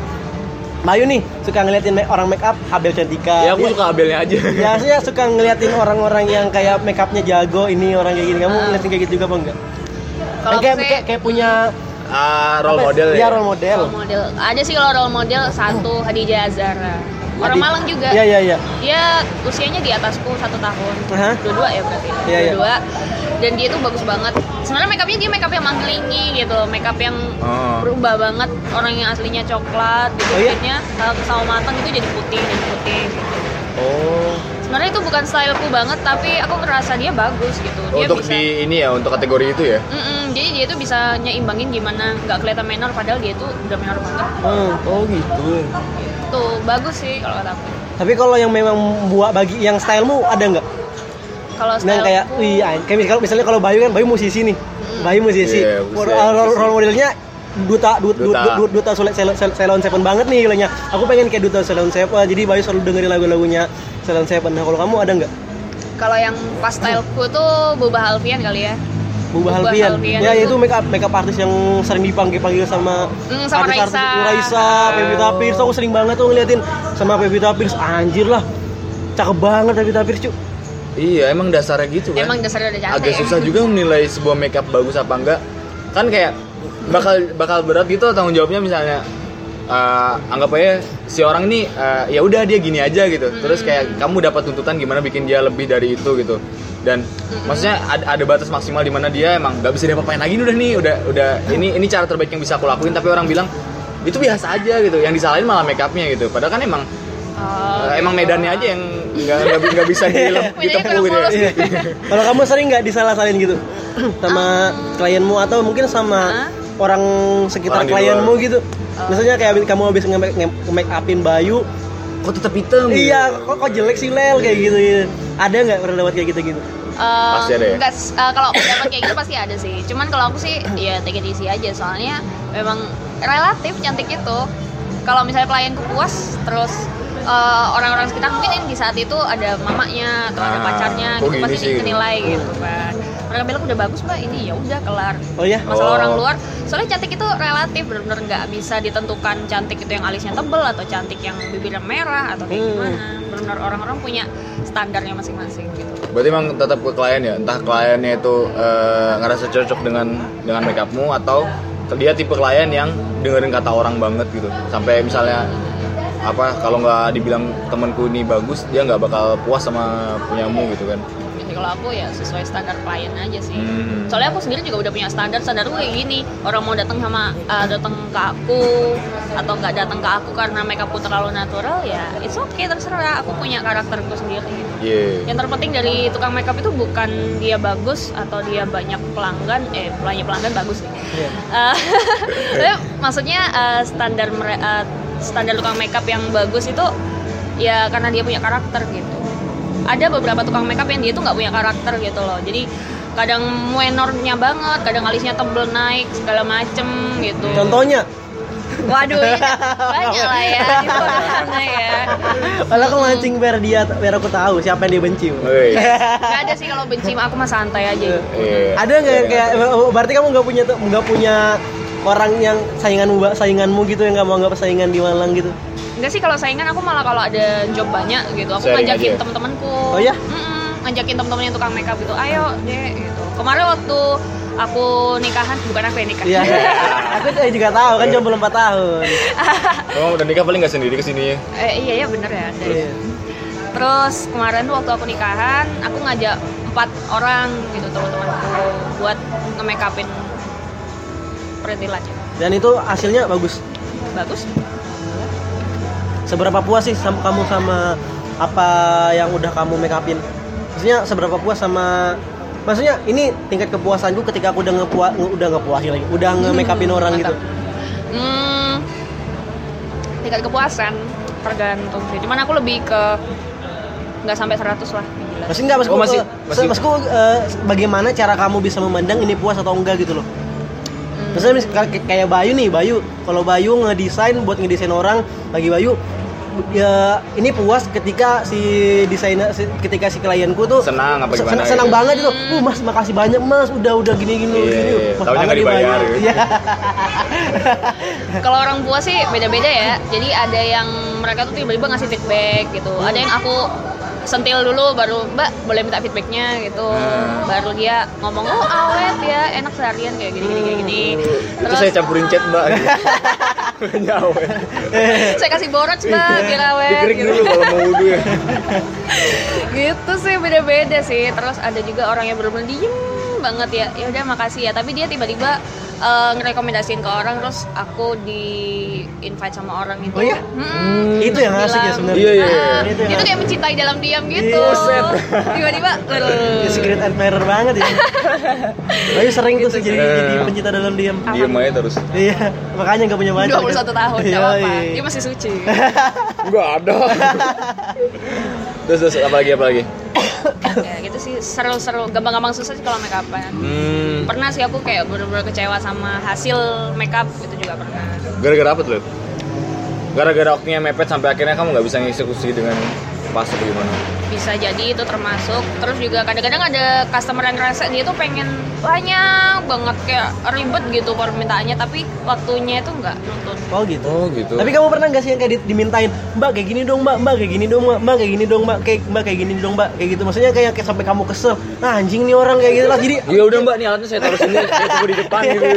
Speaker 2: Bayu nih suka ngeliatin ma- orang make up Abel Cantika
Speaker 1: ya aku
Speaker 3: Iya.
Speaker 2: Dia-
Speaker 1: suka Abelnya aja.
Speaker 2: Ya saya suka ngeliatin orang-orang yang kayak make upnya jago ini orang kayak gini. Kamu ngeliatin kayak gitu juga apa enggak?
Speaker 3: Ah. Kalau
Speaker 2: kayak,
Speaker 3: aku sih-
Speaker 2: kayak, kayak punya
Speaker 1: Ah, role model ya.
Speaker 2: ya, role model.
Speaker 3: Iya, role model ada sih kalau role model satu Hadijah Azhara orang
Speaker 2: Adi-
Speaker 3: Malang juga
Speaker 2: Iya iya iya.
Speaker 3: dia usianya di atasku satu tahun
Speaker 2: Aha.
Speaker 3: dua-dua ya berarti
Speaker 2: Iya, iya.
Speaker 3: dua-dua dan dia tuh bagus banget sebenarnya makeupnya dia makeup yang manglingi gitu makeup yang
Speaker 1: Oh.
Speaker 3: berubah banget orang yang aslinya coklat gitu
Speaker 2: Oh, iya?
Speaker 3: kulitnya kalau sama matang itu jadi putih jadi putih gitu.
Speaker 1: Oh.
Speaker 3: sebenarnya itu bukan styleku banget tapi aku ngerasa dia bagus gitu dia
Speaker 1: Untuk
Speaker 3: bisa
Speaker 1: di ini ya, untuk kategori itu ya.
Speaker 3: Mm-mm, jadi dia tuh bisa nyeimbangin gimana nggak kelihatan menor padahal dia tuh udah menor banget
Speaker 2: Hmm.
Speaker 1: Oh gitu.
Speaker 3: tuh bagus sih kalau kata aku
Speaker 2: Tapi kalau yang memang buat bagi yang stylemu ada nggak?
Speaker 3: kalau
Speaker 2: Nah, Yang
Speaker 3: style
Speaker 2: kayak iya. wih, an- kayak misalnya, misalnya kalau Bayu kan Bayu musisi nih.
Speaker 3: Hmm.
Speaker 2: Bayu musisi.
Speaker 1: Iya, musisi.
Speaker 2: Role- role, role modelnya duta
Speaker 1: Duta.
Speaker 2: duta duta, duta, duta Sule- Sel- Sel- Selon Seven banget nih gilanya. Aku pengen kayak duta Selon Seven. Jadi Bayu selalu dengerin lagu-lagunya Selon Seven. Nah, kalau kamu ada nggak?
Speaker 3: kalau yang pas styleku tuh Boba Alfian kali ya
Speaker 2: Bubah
Speaker 3: Bubah
Speaker 2: Albian.
Speaker 3: Albian
Speaker 2: Ya,
Speaker 3: itu.
Speaker 2: itu makeup makeup artis yang sering dipanggil-panggil sama
Speaker 3: Hmm, sama Raisa. Hmm.
Speaker 2: Raisa, Pevita Pierce. Aku sering banget tuh ngeliatin sama Pevita Pierce. Anjir lah. Cakep banget Pevita Pierce, cu.
Speaker 1: Iya, emang dasarnya gitu kan.
Speaker 3: Emang dasarnya udah cantik. ya?
Speaker 1: Agak susah juga menilai sebuah makeup bagus apa enggak. Kan kayak bakal bakal berat gitu tanggung jawabnya misalnya eh, anggap aja si orang ini eh, ya udah dia gini aja
Speaker 3: Hmm.
Speaker 1: gitu. Terus kayak kamu dapat tuntutan gimana bikin dia lebih dari itu gitu. Dan
Speaker 3: Hmm.
Speaker 1: maksudnya ada, ada batas maksimal di mana dia emang nggak bisa diapa-apain lagi udah nih, udah udah ini ini cara terbaik yang bisa aku lakuin tapi orang bilang itu biasa aja gitu. Yang disalahin malah makeupnya gitu. Padahal kan emang
Speaker 3: Oh,
Speaker 1: eh, emang medannya aja yang nggak nggak- nggak bisa dilem-
Speaker 3: Medannya
Speaker 1: ditempuh
Speaker 3: kurang
Speaker 1: gitu. ya.
Speaker 3: polos.
Speaker 2: Iya. Kalau kamu sering nggak disalah-salahin gitu sama klienmu atau mungkin sama
Speaker 3: Ah.
Speaker 2: orang sekitar
Speaker 1: Orang di
Speaker 2: klienmu
Speaker 1: luar.
Speaker 2: gitu? Misalnya kayak abis- kamu habis nge-make nge- nge-make upin Bayu,
Speaker 1: kok tetap hitam gitu.
Speaker 2: iya kok kok jelek sih Lel kayak gitu. gitu. Ada nggak pernah lewat kayak gitu gitu?
Speaker 3: Eh,
Speaker 1: Pasti ada ya?
Speaker 3: enggak, eh, kalau pendapat kayak gitu pasti ada sih. Cuman kalau aku sih ya take it easy aja soalnya memang relatif cantik itu. Kalau misalnya pelayanku puas terus eh, orang-orang sekitar mungkin yang di saat itu ada mamanya atau ada
Speaker 1: Ah,
Speaker 3: pacarnya
Speaker 1: kok
Speaker 3: gitu
Speaker 1: gini
Speaker 3: pasti
Speaker 1: sih?
Speaker 3: dikenilai gitu kan. Mereka bilang udah bagus mbak ini ya udah kelar.
Speaker 2: Oh iya?
Speaker 3: Masalah
Speaker 1: Oh.
Speaker 3: orang luar soalnya cantik itu relatif benar-benar nggak bisa ditentukan cantik itu yang alisnya tebel atau cantik yang bibirnya merah atau kayak
Speaker 2: Hmm.
Speaker 3: gimana. Benar-benar orang-orang punya standarnya masing-masing gitu.
Speaker 1: berarti emang tetap ke klien ya entah kliennya itu eh, ngerasa cocok dengan dengan makeupmu atau dia tipe klien yang dengerin kata orang banget gitu sampai misalnya apa kalau nggak dibilang temanku ini bagus dia nggak bakal puas sama punyamu gitu kan
Speaker 3: Jadi kalau aku ya sesuai standar klien aja sih.
Speaker 1: Hmm.
Speaker 3: Soalnya aku sendiri juga udah punya standar. Standar gue kayak gini. Orang mau datang sama uh, datang ke aku atau nggak datang ke aku karena makeupku terlalu natural ya it's okay terserah. Aku punya karakterku sendiri. gitu.
Speaker 1: iya
Speaker 3: Yang terpenting dari tukang makeup itu bukan dia bagus atau dia banyak pelanggan, eh banyak pelanggan bagus sih.
Speaker 1: Iya.
Speaker 3: Eh, tapi maksudnya eh, standar mere- eh, standar tukang makeup yang bagus itu ya karena dia punya karakter gitu. Ada beberapa tukang makeup yang dia tuh nggak punya karakter gitu loh. Jadi kadang muenornya banget, kadang alisnya tebel naik segala macem gitu.
Speaker 2: Contohnya,
Speaker 3: Waduh, ini banyak lah ya, itu orangnya ya.
Speaker 2: kalau aku mancing biar dia biar aku tahu siapa yang dia benci.
Speaker 1: Woi.
Speaker 3: Gak ada sih kalau benci, sama aku mah santai aja. gitu.
Speaker 1: Iya.
Speaker 2: Ada nggak kayak eh, oh, berarti kamu nggak punya tuh- nggak punya orang yang sainganmu sainganmu gitu yang nggak mau nggak saingan di Malang gitu?
Speaker 3: Enggak sih kalau saingan aku malah kalau ada job banyak gitu aku
Speaker 1: Sharing
Speaker 3: ngajakin
Speaker 1: aja.
Speaker 3: temen-temenku.
Speaker 2: Oh ya?
Speaker 3: Mm-mm, ngajakin temen-temen yang tukang makeup gitu. Ayo, Dek gitu. Kemarin waktu aku nikahan bukan aku yang nikah.
Speaker 2: Iya. aku tuh juga tahu
Speaker 1: Iya.
Speaker 2: kan jomblo 4 tahun.
Speaker 1: Emang udah nikah paling nggak sendiri kesini ya
Speaker 3: Eh, iya iya bener ya. ada ya. Terus kemarin tuh waktu aku nikahan, aku ngajak empat orang gitu teman-temanku buat nge-makeupin perintilan ya.
Speaker 2: Dan itu hasilnya bagus.
Speaker 3: Bagus.
Speaker 2: Seberapa puas sih sama kamu sama apa yang udah kamu make upin? Maksudnya seberapa puas sama Maksudnya ini tingkat kepuasanku ketika aku udah ngepua nge- udah ngepuasin lagi, udah nge make upin orang gitu.
Speaker 3: Hmm, tingkat kepuasan tergantung sih. Cuman aku lebih ke nggak sampai 100 lah. gila.
Speaker 2: Maksudnya enggak maksudku,
Speaker 1: Oh, masih-
Speaker 2: eh,
Speaker 1: masih-
Speaker 2: maksudku, eh, bagaimana cara kamu bisa memandang ini puas atau enggak gitu loh.
Speaker 3: Hmm.
Speaker 2: Maksudnya mis- kayak- kayak Bayu nih, Bayu. Kalau Bayu ngedesain buat ngedesain orang, bagi Bayu ya ini puas ketika si desainer si- ketika si klienku tuh
Speaker 1: Senang apa
Speaker 2: se-
Speaker 1: gimana
Speaker 2: senang
Speaker 1: gitu.
Speaker 2: banget itu.
Speaker 3: Hmm.
Speaker 2: Uh, Mas, makasih banyak Mas, udah udah gini gini.
Speaker 1: Iya,
Speaker 2: gini.
Speaker 1: iya, iya. Taunya
Speaker 2: Mas,
Speaker 1: nggak
Speaker 2: makasih
Speaker 1: dibayar,
Speaker 2: banyak.
Speaker 1: gitu.
Speaker 2: Iya.
Speaker 3: Kalau orang puas sih beda-beda ya. Jadi ada yang mereka tuh tiba-tiba ngasih feedback gitu. Ada yang aku sentil dulu baru Mbak boleh minta feedbacknya gitu.
Speaker 1: Hmm.
Speaker 3: Baru dia ngomong oh awet ya enak seharian kayak gini gini kayak gini.
Speaker 1: Hmm. itu saya campurin chat mbak nyawa
Speaker 3: saya kasih borot mbak biar awet.
Speaker 1: dikerik
Speaker 3: gitu.
Speaker 1: Iya. dulu kalau mau wudhu ya
Speaker 3: gitu sih beda-beda sih terus ada juga orang yang bener-bener diem banget ya ya udah makasih ya tapi dia tiba-tiba eh, ngerekomendasiin ke orang terus aku di invite sama orang itu Hmm.
Speaker 2: Oh ya?
Speaker 3: Mm-mm.
Speaker 2: Itu yang asik ya
Speaker 3: Bilang,
Speaker 2: sebenarnya.
Speaker 1: Iya, iya, iya.
Speaker 2: Itu
Speaker 3: "Ah,
Speaker 2: yang
Speaker 3: itu kayak Iya,
Speaker 2: asik.
Speaker 3: mencintai dalam diam gitu
Speaker 2: Buset.
Speaker 3: tiba-tiba
Speaker 2: Ya,
Speaker 3: "Aduh."
Speaker 2: Secret admirer banget ya. Bayu sering
Speaker 3: Gitu
Speaker 2: tuh sih jadi, jadi
Speaker 1: Eh.
Speaker 2: pencinta dalam diam.
Speaker 1: diem aja terus
Speaker 2: Iya, makanya nggak punya banyak.
Speaker 3: 21 tahun,
Speaker 2: Iya,
Speaker 3: gak apa-apa Ya,
Speaker 2: iya.
Speaker 3: Dia masih suci
Speaker 1: Enggak ada. terus terus apa lagi apa lagi?
Speaker 3: Ya gitu sih, seru-seru Gampang-gampang susah sih kalau make upan
Speaker 1: Hmm,
Speaker 3: Pernah sih aku kayak bener-bener kecewa sama hasil make up Itu juga pernah
Speaker 1: gara-gara apa tuh? Lud? Gara-gara waktunya mepet sampai akhirnya kamu nggak bisa ngeksekusi dengan pas atau gimana?
Speaker 3: bisa jadi itu termasuk terus juga kadang-kadang ada customer yang rese dia tuh pengen banyak banget kayak ribet gitu permintaannya tapi waktunya itu nggak nuntut
Speaker 2: Oh gitu.
Speaker 1: Oh, gitu.
Speaker 2: Tapi kamu pernah nggak sih yang kayak di- dimintain, Mbak kayak gini dong Mbak, Mbak kayak gini dong Mbak, Mbak kayak gini dong Mbak, kayak Mbak kayak gini dong Mbak, kayak gitu. Maksudnya kayak, kayak sampai kamu kesel, nah anjing nih orang kayak gitu lah. Jadi
Speaker 1: Ya udah mbak, nih alatnya saya taruh sini, saya tunggu di depan gitu.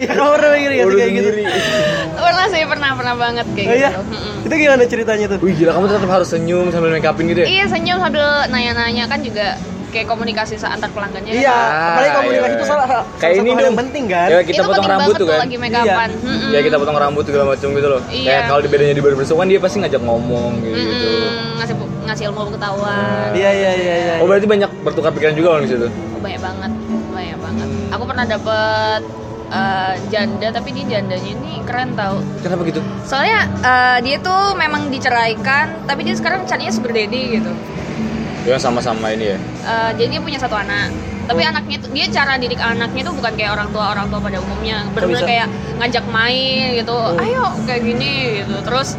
Speaker 2: ya, kamu pernah kayak gitu.
Speaker 1: Urus
Speaker 2: Iya, Kayak gitu.
Speaker 1: sendiri.
Speaker 3: pernah sih pernah pernah banget kayak
Speaker 2: Oh iya,
Speaker 3: gitu Mm-mm.
Speaker 2: itu gimana ceritanya tuh?
Speaker 1: Wih gila, kamu tetap harus senyum sambil make upin gitu ya?
Speaker 3: iya senyum sambil nanya-nanya kan juga kayak komunikasi antar pelanggannya
Speaker 2: Iya,
Speaker 1: Ah,
Speaker 2: apalagi komunikasi
Speaker 1: iya.
Speaker 2: itu salah, salah
Speaker 1: Kayak
Speaker 2: satu
Speaker 1: ini
Speaker 2: hal
Speaker 1: dong.
Speaker 2: yang penting kan.
Speaker 1: Ya, kita
Speaker 3: itu
Speaker 1: potong
Speaker 3: penting
Speaker 1: rambut
Speaker 3: banget
Speaker 1: tuh
Speaker 3: tuh
Speaker 1: kan.
Speaker 3: lagi make upan
Speaker 2: Iya.
Speaker 3: Mm-mm.
Speaker 1: Ya kita potong rambut segala macam gitu loh.
Speaker 3: Iya.
Speaker 1: Kayak kalau di bedanya di barbershop kan dia pasti ngajak ngomong gitu.
Speaker 3: Mm-mm. ngasih ngasih ilmu pengetahuan
Speaker 2: Iya iya iya iya.
Speaker 1: Oh berarti banyak bertukar pikiran juga orang di situ.
Speaker 3: Oh, banyak banget banyak banget aku pernah dapet eh, janda tapi dia jandanya ini keren tau
Speaker 1: Kenapa gitu?
Speaker 3: soalnya eh, dia tuh memang diceraikan tapi dia sekarang catnya sugar daddy gitu
Speaker 1: Ya sama-sama ini ya.
Speaker 3: Eh, jadi dia punya satu anak tapi
Speaker 2: Oh.
Speaker 3: anaknya tuh dia cara didik anaknya tuh bukan kayak orang tua orang tua pada umumnya benar-benar
Speaker 2: bisa? Oh.
Speaker 3: kayak ngajak main gitu ayo kayak gini gitu terus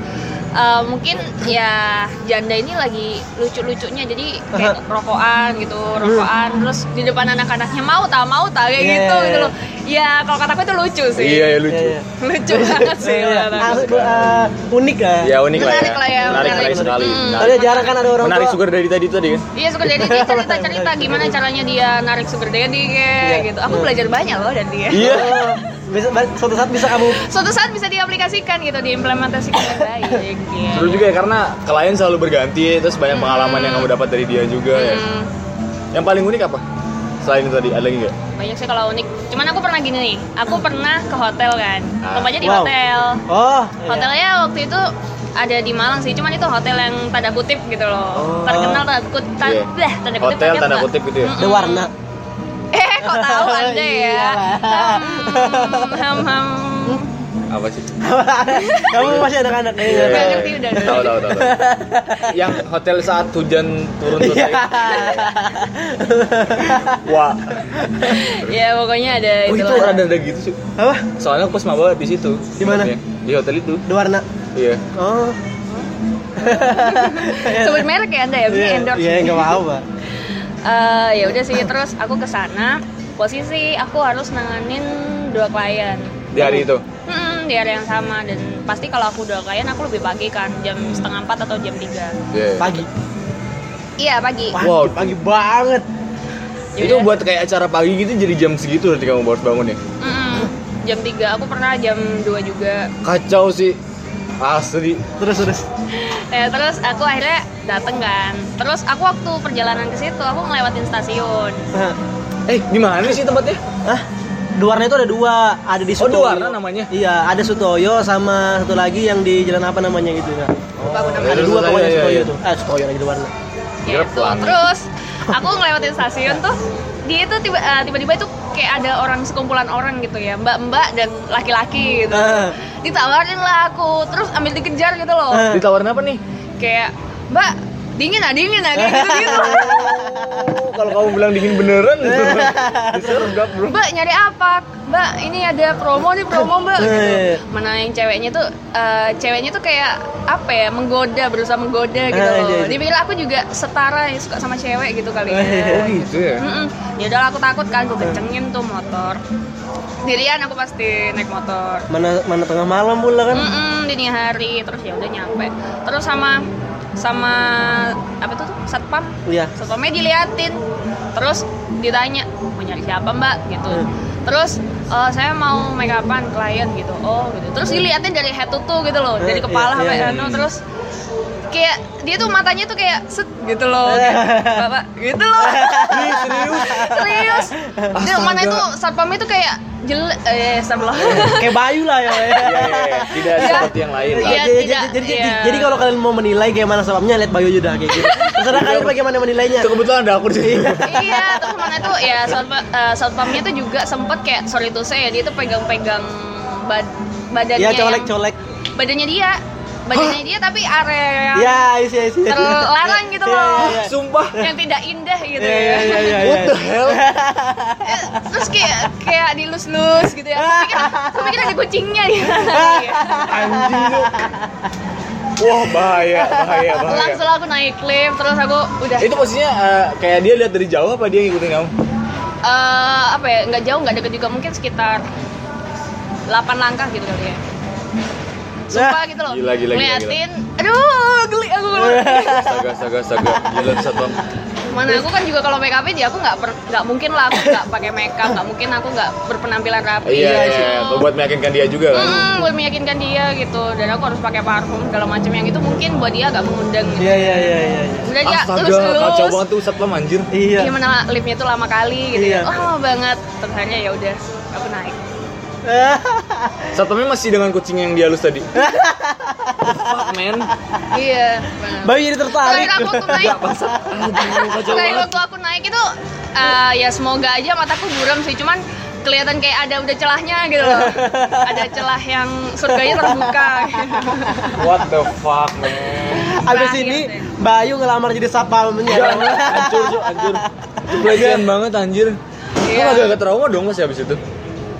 Speaker 3: eh, mungkin ya janda ini lagi lucu-lucunya jadi kayak rokokan gitu rokokan terus di depan anak-anaknya mau tak mau tak kayak
Speaker 2: Hmm. Iya,
Speaker 3: gitu
Speaker 2: iya,
Speaker 3: gitu
Speaker 2: iya.
Speaker 3: loh ya kalau kata aku itu lucu sih
Speaker 1: Iya ya
Speaker 2: Iya,
Speaker 1: lucu.
Speaker 2: iya.
Speaker 3: lucu banget sih
Speaker 2: Iya,
Speaker 3: kalau kata aku.
Speaker 2: asli, eh, unik lah.
Speaker 1: Ya unik lah ya.
Speaker 3: Menarik lah ya,
Speaker 1: Menarik, menarik
Speaker 3: menarik.
Speaker 1: sekali.
Speaker 3: Hmm.
Speaker 1: Menarik.
Speaker 2: Soalnya jarang kan ada orang
Speaker 1: Menarik
Speaker 2: tua.
Speaker 1: sugar dari tadi itu tadi kan?
Speaker 3: Iya sugar daddy dia cerita-cerita gimana caranya dia narik sugar daddy kayak
Speaker 2: Iya.
Speaker 3: gitu. Aku belajar banyak loh dari dia.
Speaker 1: Iya.
Speaker 2: Oh, bisa, suatu saat bisa kamu
Speaker 3: Suatu saat bisa diaplikasikan gitu, diimplementasikan dengan baik. Gitu.
Speaker 1: Seru juga ya karena klien selalu berganti terus banyak pengalaman yang kamu dapat dari dia juga ya.
Speaker 3: Hmm,
Speaker 1: Yang paling unik apa? Selain itu tadi ada lagi nggak?
Speaker 3: banyak sih kalau unik. Cuman aku pernah gini nih, aku pernah ke hotel kan.
Speaker 1: Ah.
Speaker 3: Tempatnya di
Speaker 2: Wow.
Speaker 3: hotel.
Speaker 2: Oh, iya.
Speaker 3: Hotelnya waktu itu ada di Malang sih, cuman itu hotel yang tanda kutip gitu loh.
Speaker 2: Oh.
Speaker 3: Terkenal tanda kutip,
Speaker 1: Iya.
Speaker 3: tanda kutip.
Speaker 1: Hotel
Speaker 3: tapi
Speaker 1: tanda
Speaker 3: enggak.
Speaker 1: kutip gitu ya.
Speaker 2: Ada warna.
Speaker 3: Eh, kok tahu Anda ya?
Speaker 2: Iyalah.
Speaker 3: Hmm, hmm, hmm.
Speaker 1: Apa sih?
Speaker 2: kamu masih anak-anak ya.
Speaker 1: Iya.
Speaker 3: Nggak ngerti udah.
Speaker 1: Tahu tahu tahu. tahu. Yang hotel saat hujan turun tuh.
Speaker 2: Iya.
Speaker 1: tadi. Wah.
Speaker 3: Ya pokoknya ada
Speaker 1: Oh, itu
Speaker 3: lah.
Speaker 1: ada ada gitu sih.
Speaker 2: Apa?
Speaker 1: Soalnya aku pas maba di situ.
Speaker 2: Di mana?
Speaker 1: tempatnya. Di hotel itu.
Speaker 2: Ada warna.
Speaker 1: Iya.
Speaker 2: Oh.
Speaker 3: sebut merek ya anda ya bisa
Speaker 2: Iya,
Speaker 3: endorse
Speaker 2: iya enggak apa-apa.
Speaker 3: Eh, ya udah sih terus aku ke sana posisi aku harus nanganin dua klien
Speaker 1: Di hari itu.
Speaker 3: hmm, di area yang sama dan pasti kalau aku dua klien aku lebih pagi kan jam setengah empat atau jam tiga
Speaker 1: Iya.
Speaker 2: Pagi.
Speaker 3: iya pagi
Speaker 2: Pagi,
Speaker 1: Wow.
Speaker 2: pagi banget.
Speaker 3: Ya
Speaker 1: Itu
Speaker 3: udah.
Speaker 1: buat kayak acara pagi gitu jadi jam segitu berarti kamu baru bangun ya?
Speaker 3: Mm-mm, jam tiga aku pernah jam dua juga
Speaker 1: Kacau sih. Asli.
Speaker 2: Terus terus.
Speaker 3: ya terus aku akhirnya dateng kan terus aku waktu perjalanan ke situ aku ngelewatin stasiun
Speaker 2: Hah.
Speaker 1: Eh, di mana sih tempatnya?
Speaker 2: Hah? Dua warna itu ada dua, ada di
Speaker 1: Oh,
Speaker 2: Sutoyo.
Speaker 1: dua warna namanya.
Speaker 2: Iya, ada Sutoyo sama satu lagi yang di jalan apa namanya gitu ya.
Speaker 3: Lupa aku namanya.
Speaker 2: Ada dua
Speaker 1: Iya,
Speaker 2: pokoknya
Speaker 1: iya,
Speaker 2: Sutoyo
Speaker 1: iya.
Speaker 2: tuh. Eh, Sutoyo lagi dua warna. Iya,
Speaker 1: Kira
Speaker 3: Gitu.
Speaker 1: pelangi.
Speaker 3: Terus aku ngelewatin stasiun tuh dia itu tiba eh, tiba-tiba itu kayak ada orang sekumpulan orang gitu ya mbak-mbak dan laki-laki gitu
Speaker 2: Eh,
Speaker 3: ditawarin lah aku terus ambil dikejar gitu loh
Speaker 2: Eh.
Speaker 1: Ditawarin apa nih?
Speaker 3: kayak mbak dingin ah dingin ah kayak gitu gitu
Speaker 1: Oh, kalau kamu bilang dingin beneran. Disergap, Bro.
Speaker 3: mbak nyari apa mbak ini ada promo nih promo mbak gitu
Speaker 2: Eh.
Speaker 3: mana yang ceweknya tuh eh, ceweknya tuh kayak apa ya menggoda berusaha menggoda gitu
Speaker 2: Eh, iya,
Speaker 3: loh
Speaker 2: iya.
Speaker 3: dia bilang aku juga setara yang suka sama cewek gitu kali ya
Speaker 2: iya.
Speaker 1: Oh, gitu ya.
Speaker 3: Mm-mm. Ya udah aku takut kan, gue kencengin tuh motor. Dirian aku pasti naik motor.
Speaker 2: Mana mana tengah malam pula kan.
Speaker 3: Mm-mm, dini hari terus ya udah nyampe. Terus sama sama apa tuh tuh, satpam.
Speaker 2: Iya.
Speaker 3: Satpamnya diliatin. Terus ditanya, "Mau nyari siapa, Mbak?" gitu.
Speaker 2: Hmm.
Speaker 3: Terus "Eh, saya mau make upan klien gitu. Oh, gitu. Terus diliatin dari head to toe gitu loh, dari
Speaker 2: Eh, iya,
Speaker 3: kepala sampai
Speaker 2: iya.
Speaker 3: anu terus kayak dia tuh matanya tuh kayak set gitu
Speaker 2: Eh.
Speaker 3: loh. Kayak, Bapak gitu loh.
Speaker 1: Ih, serius.
Speaker 3: Serius. Dia
Speaker 1: Astaga.
Speaker 3: mana itu satpamnya itu kayak jelek eh astagfirullah.
Speaker 2: Kayak Bayu lah ya.
Speaker 1: Iya, iya, iya. Tidak
Speaker 3: Iya.
Speaker 1: seperti yang lain lah.
Speaker 3: Iya,
Speaker 2: jadi,
Speaker 3: tidak,
Speaker 2: jadi, jadi,
Speaker 3: iya.
Speaker 2: jadi kalau kalian mau menilai gimana sebabnya lihat Bayu Yuda kayak gitu. Terserah kalian bagaimana menilainya.
Speaker 1: Itu Ya, kebetulan ada aku di situ.
Speaker 3: iya, terus mana itu ya satpa- eh, satpamnya tuh juga sempet kayak sorry to say ya dia tuh pegang-pegang bad- badannya
Speaker 2: Iya,
Speaker 3: yang-
Speaker 2: colek-colek.
Speaker 3: badannya dia badannya dia tapi area
Speaker 1: Ya.
Speaker 3: yang
Speaker 2: Iya, isi isi.
Speaker 3: terlarang gitu loh.
Speaker 1: Sumpah.
Speaker 3: yang tidak indah gitu
Speaker 2: Iya, iya, iya,
Speaker 3: ya.
Speaker 2: iya.
Speaker 1: What the hell?
Speaker 3: Terus kayak kayak dilus-lus gitu ya. Aku pikir, aku pikir ada kucingnya di sana.
Speaker 1: Anjing lu. Wah bahaya, bahaya, bahaya.
Speaker 3: langsung aku naik lift terus aku udah
Speaker 1: Itu posisinya eh, kayak dia lihat dari jauh apa dia ngikutin kamu?
Speaker 3: eh, apa ya nggak jauh nggak deket juga mungkin sekitar 8 langkah gitu kali ya
Speaker 2: Nah, iya,
Speaker 3: sumpah gitu loh
Speaker 1: Gila, gila, gila,
Speaker 3: ngeliatin aduh geli aku kalau
Speaker 1: Astaga, astaga, astaga. Gila tuh satpam.
Speaker 3: mana aku kan juga kalau make up jadi aku nggak ber- nggak mungkin lah aku nggak pakai make up nggak mungkin aku nggak berpenampilan rapi
Speaker 1: Iya,
Speaker 3: gitu.
Speaker 1: iya. Buat meyakinkan dia juga kan.
Speaker 3: Hmm, buat meyakinkan dia gitu dan aku harus pakai parfum segala macam yang itu mungkin buat dia agak mengundang gitu.
Speaker 2: Iya iya iya iya.
Speaker 3: Udah dia
Speaker 1: Astaga, kacau
Speaker 3: lulus-lulus
Speaker 1: banget tuh satpam anjir.
Speaker 2: Iya.
Speaker 3: gimana lah, liftnya tuh lama kali gitu
Speaker 2: Iya.
Speaker 3: ya lama banget terus akhirnya ya udah aku naik
Speaker 1: Satpamnya masih dengan kucing yang dia halus tadi. What the Fuck man.
Speaker 3: iya benar.
Speaker 2: Bayu jadi tertarik.
Speaker 3: terakhir aku tuh naik
Speaker 1: Aduh, kacau
Speaker 3: terakhir
Speaker 1: banget.
Speaker 3: waktu aku naik itu eh, ya semoga aja mataku buram sih cuman kelihatan kayak ada udah celahnya gitu loh ada celah yang surganya terbuka
Speaker 1: What the fuck man.
Speaker 2: Abis
Speaker 3: Terakhir
Speaker 2: ini
Speaker 3: deh.
Speaker 2: Bayu ngelamar jadi satpamnya.
Speaker 1: Hancur, Cuk, hancur. Itu pelecehan banget anjir.
Speaker 3: Iya.
Speaker 1: Lu agak trauma dong mas habis itu?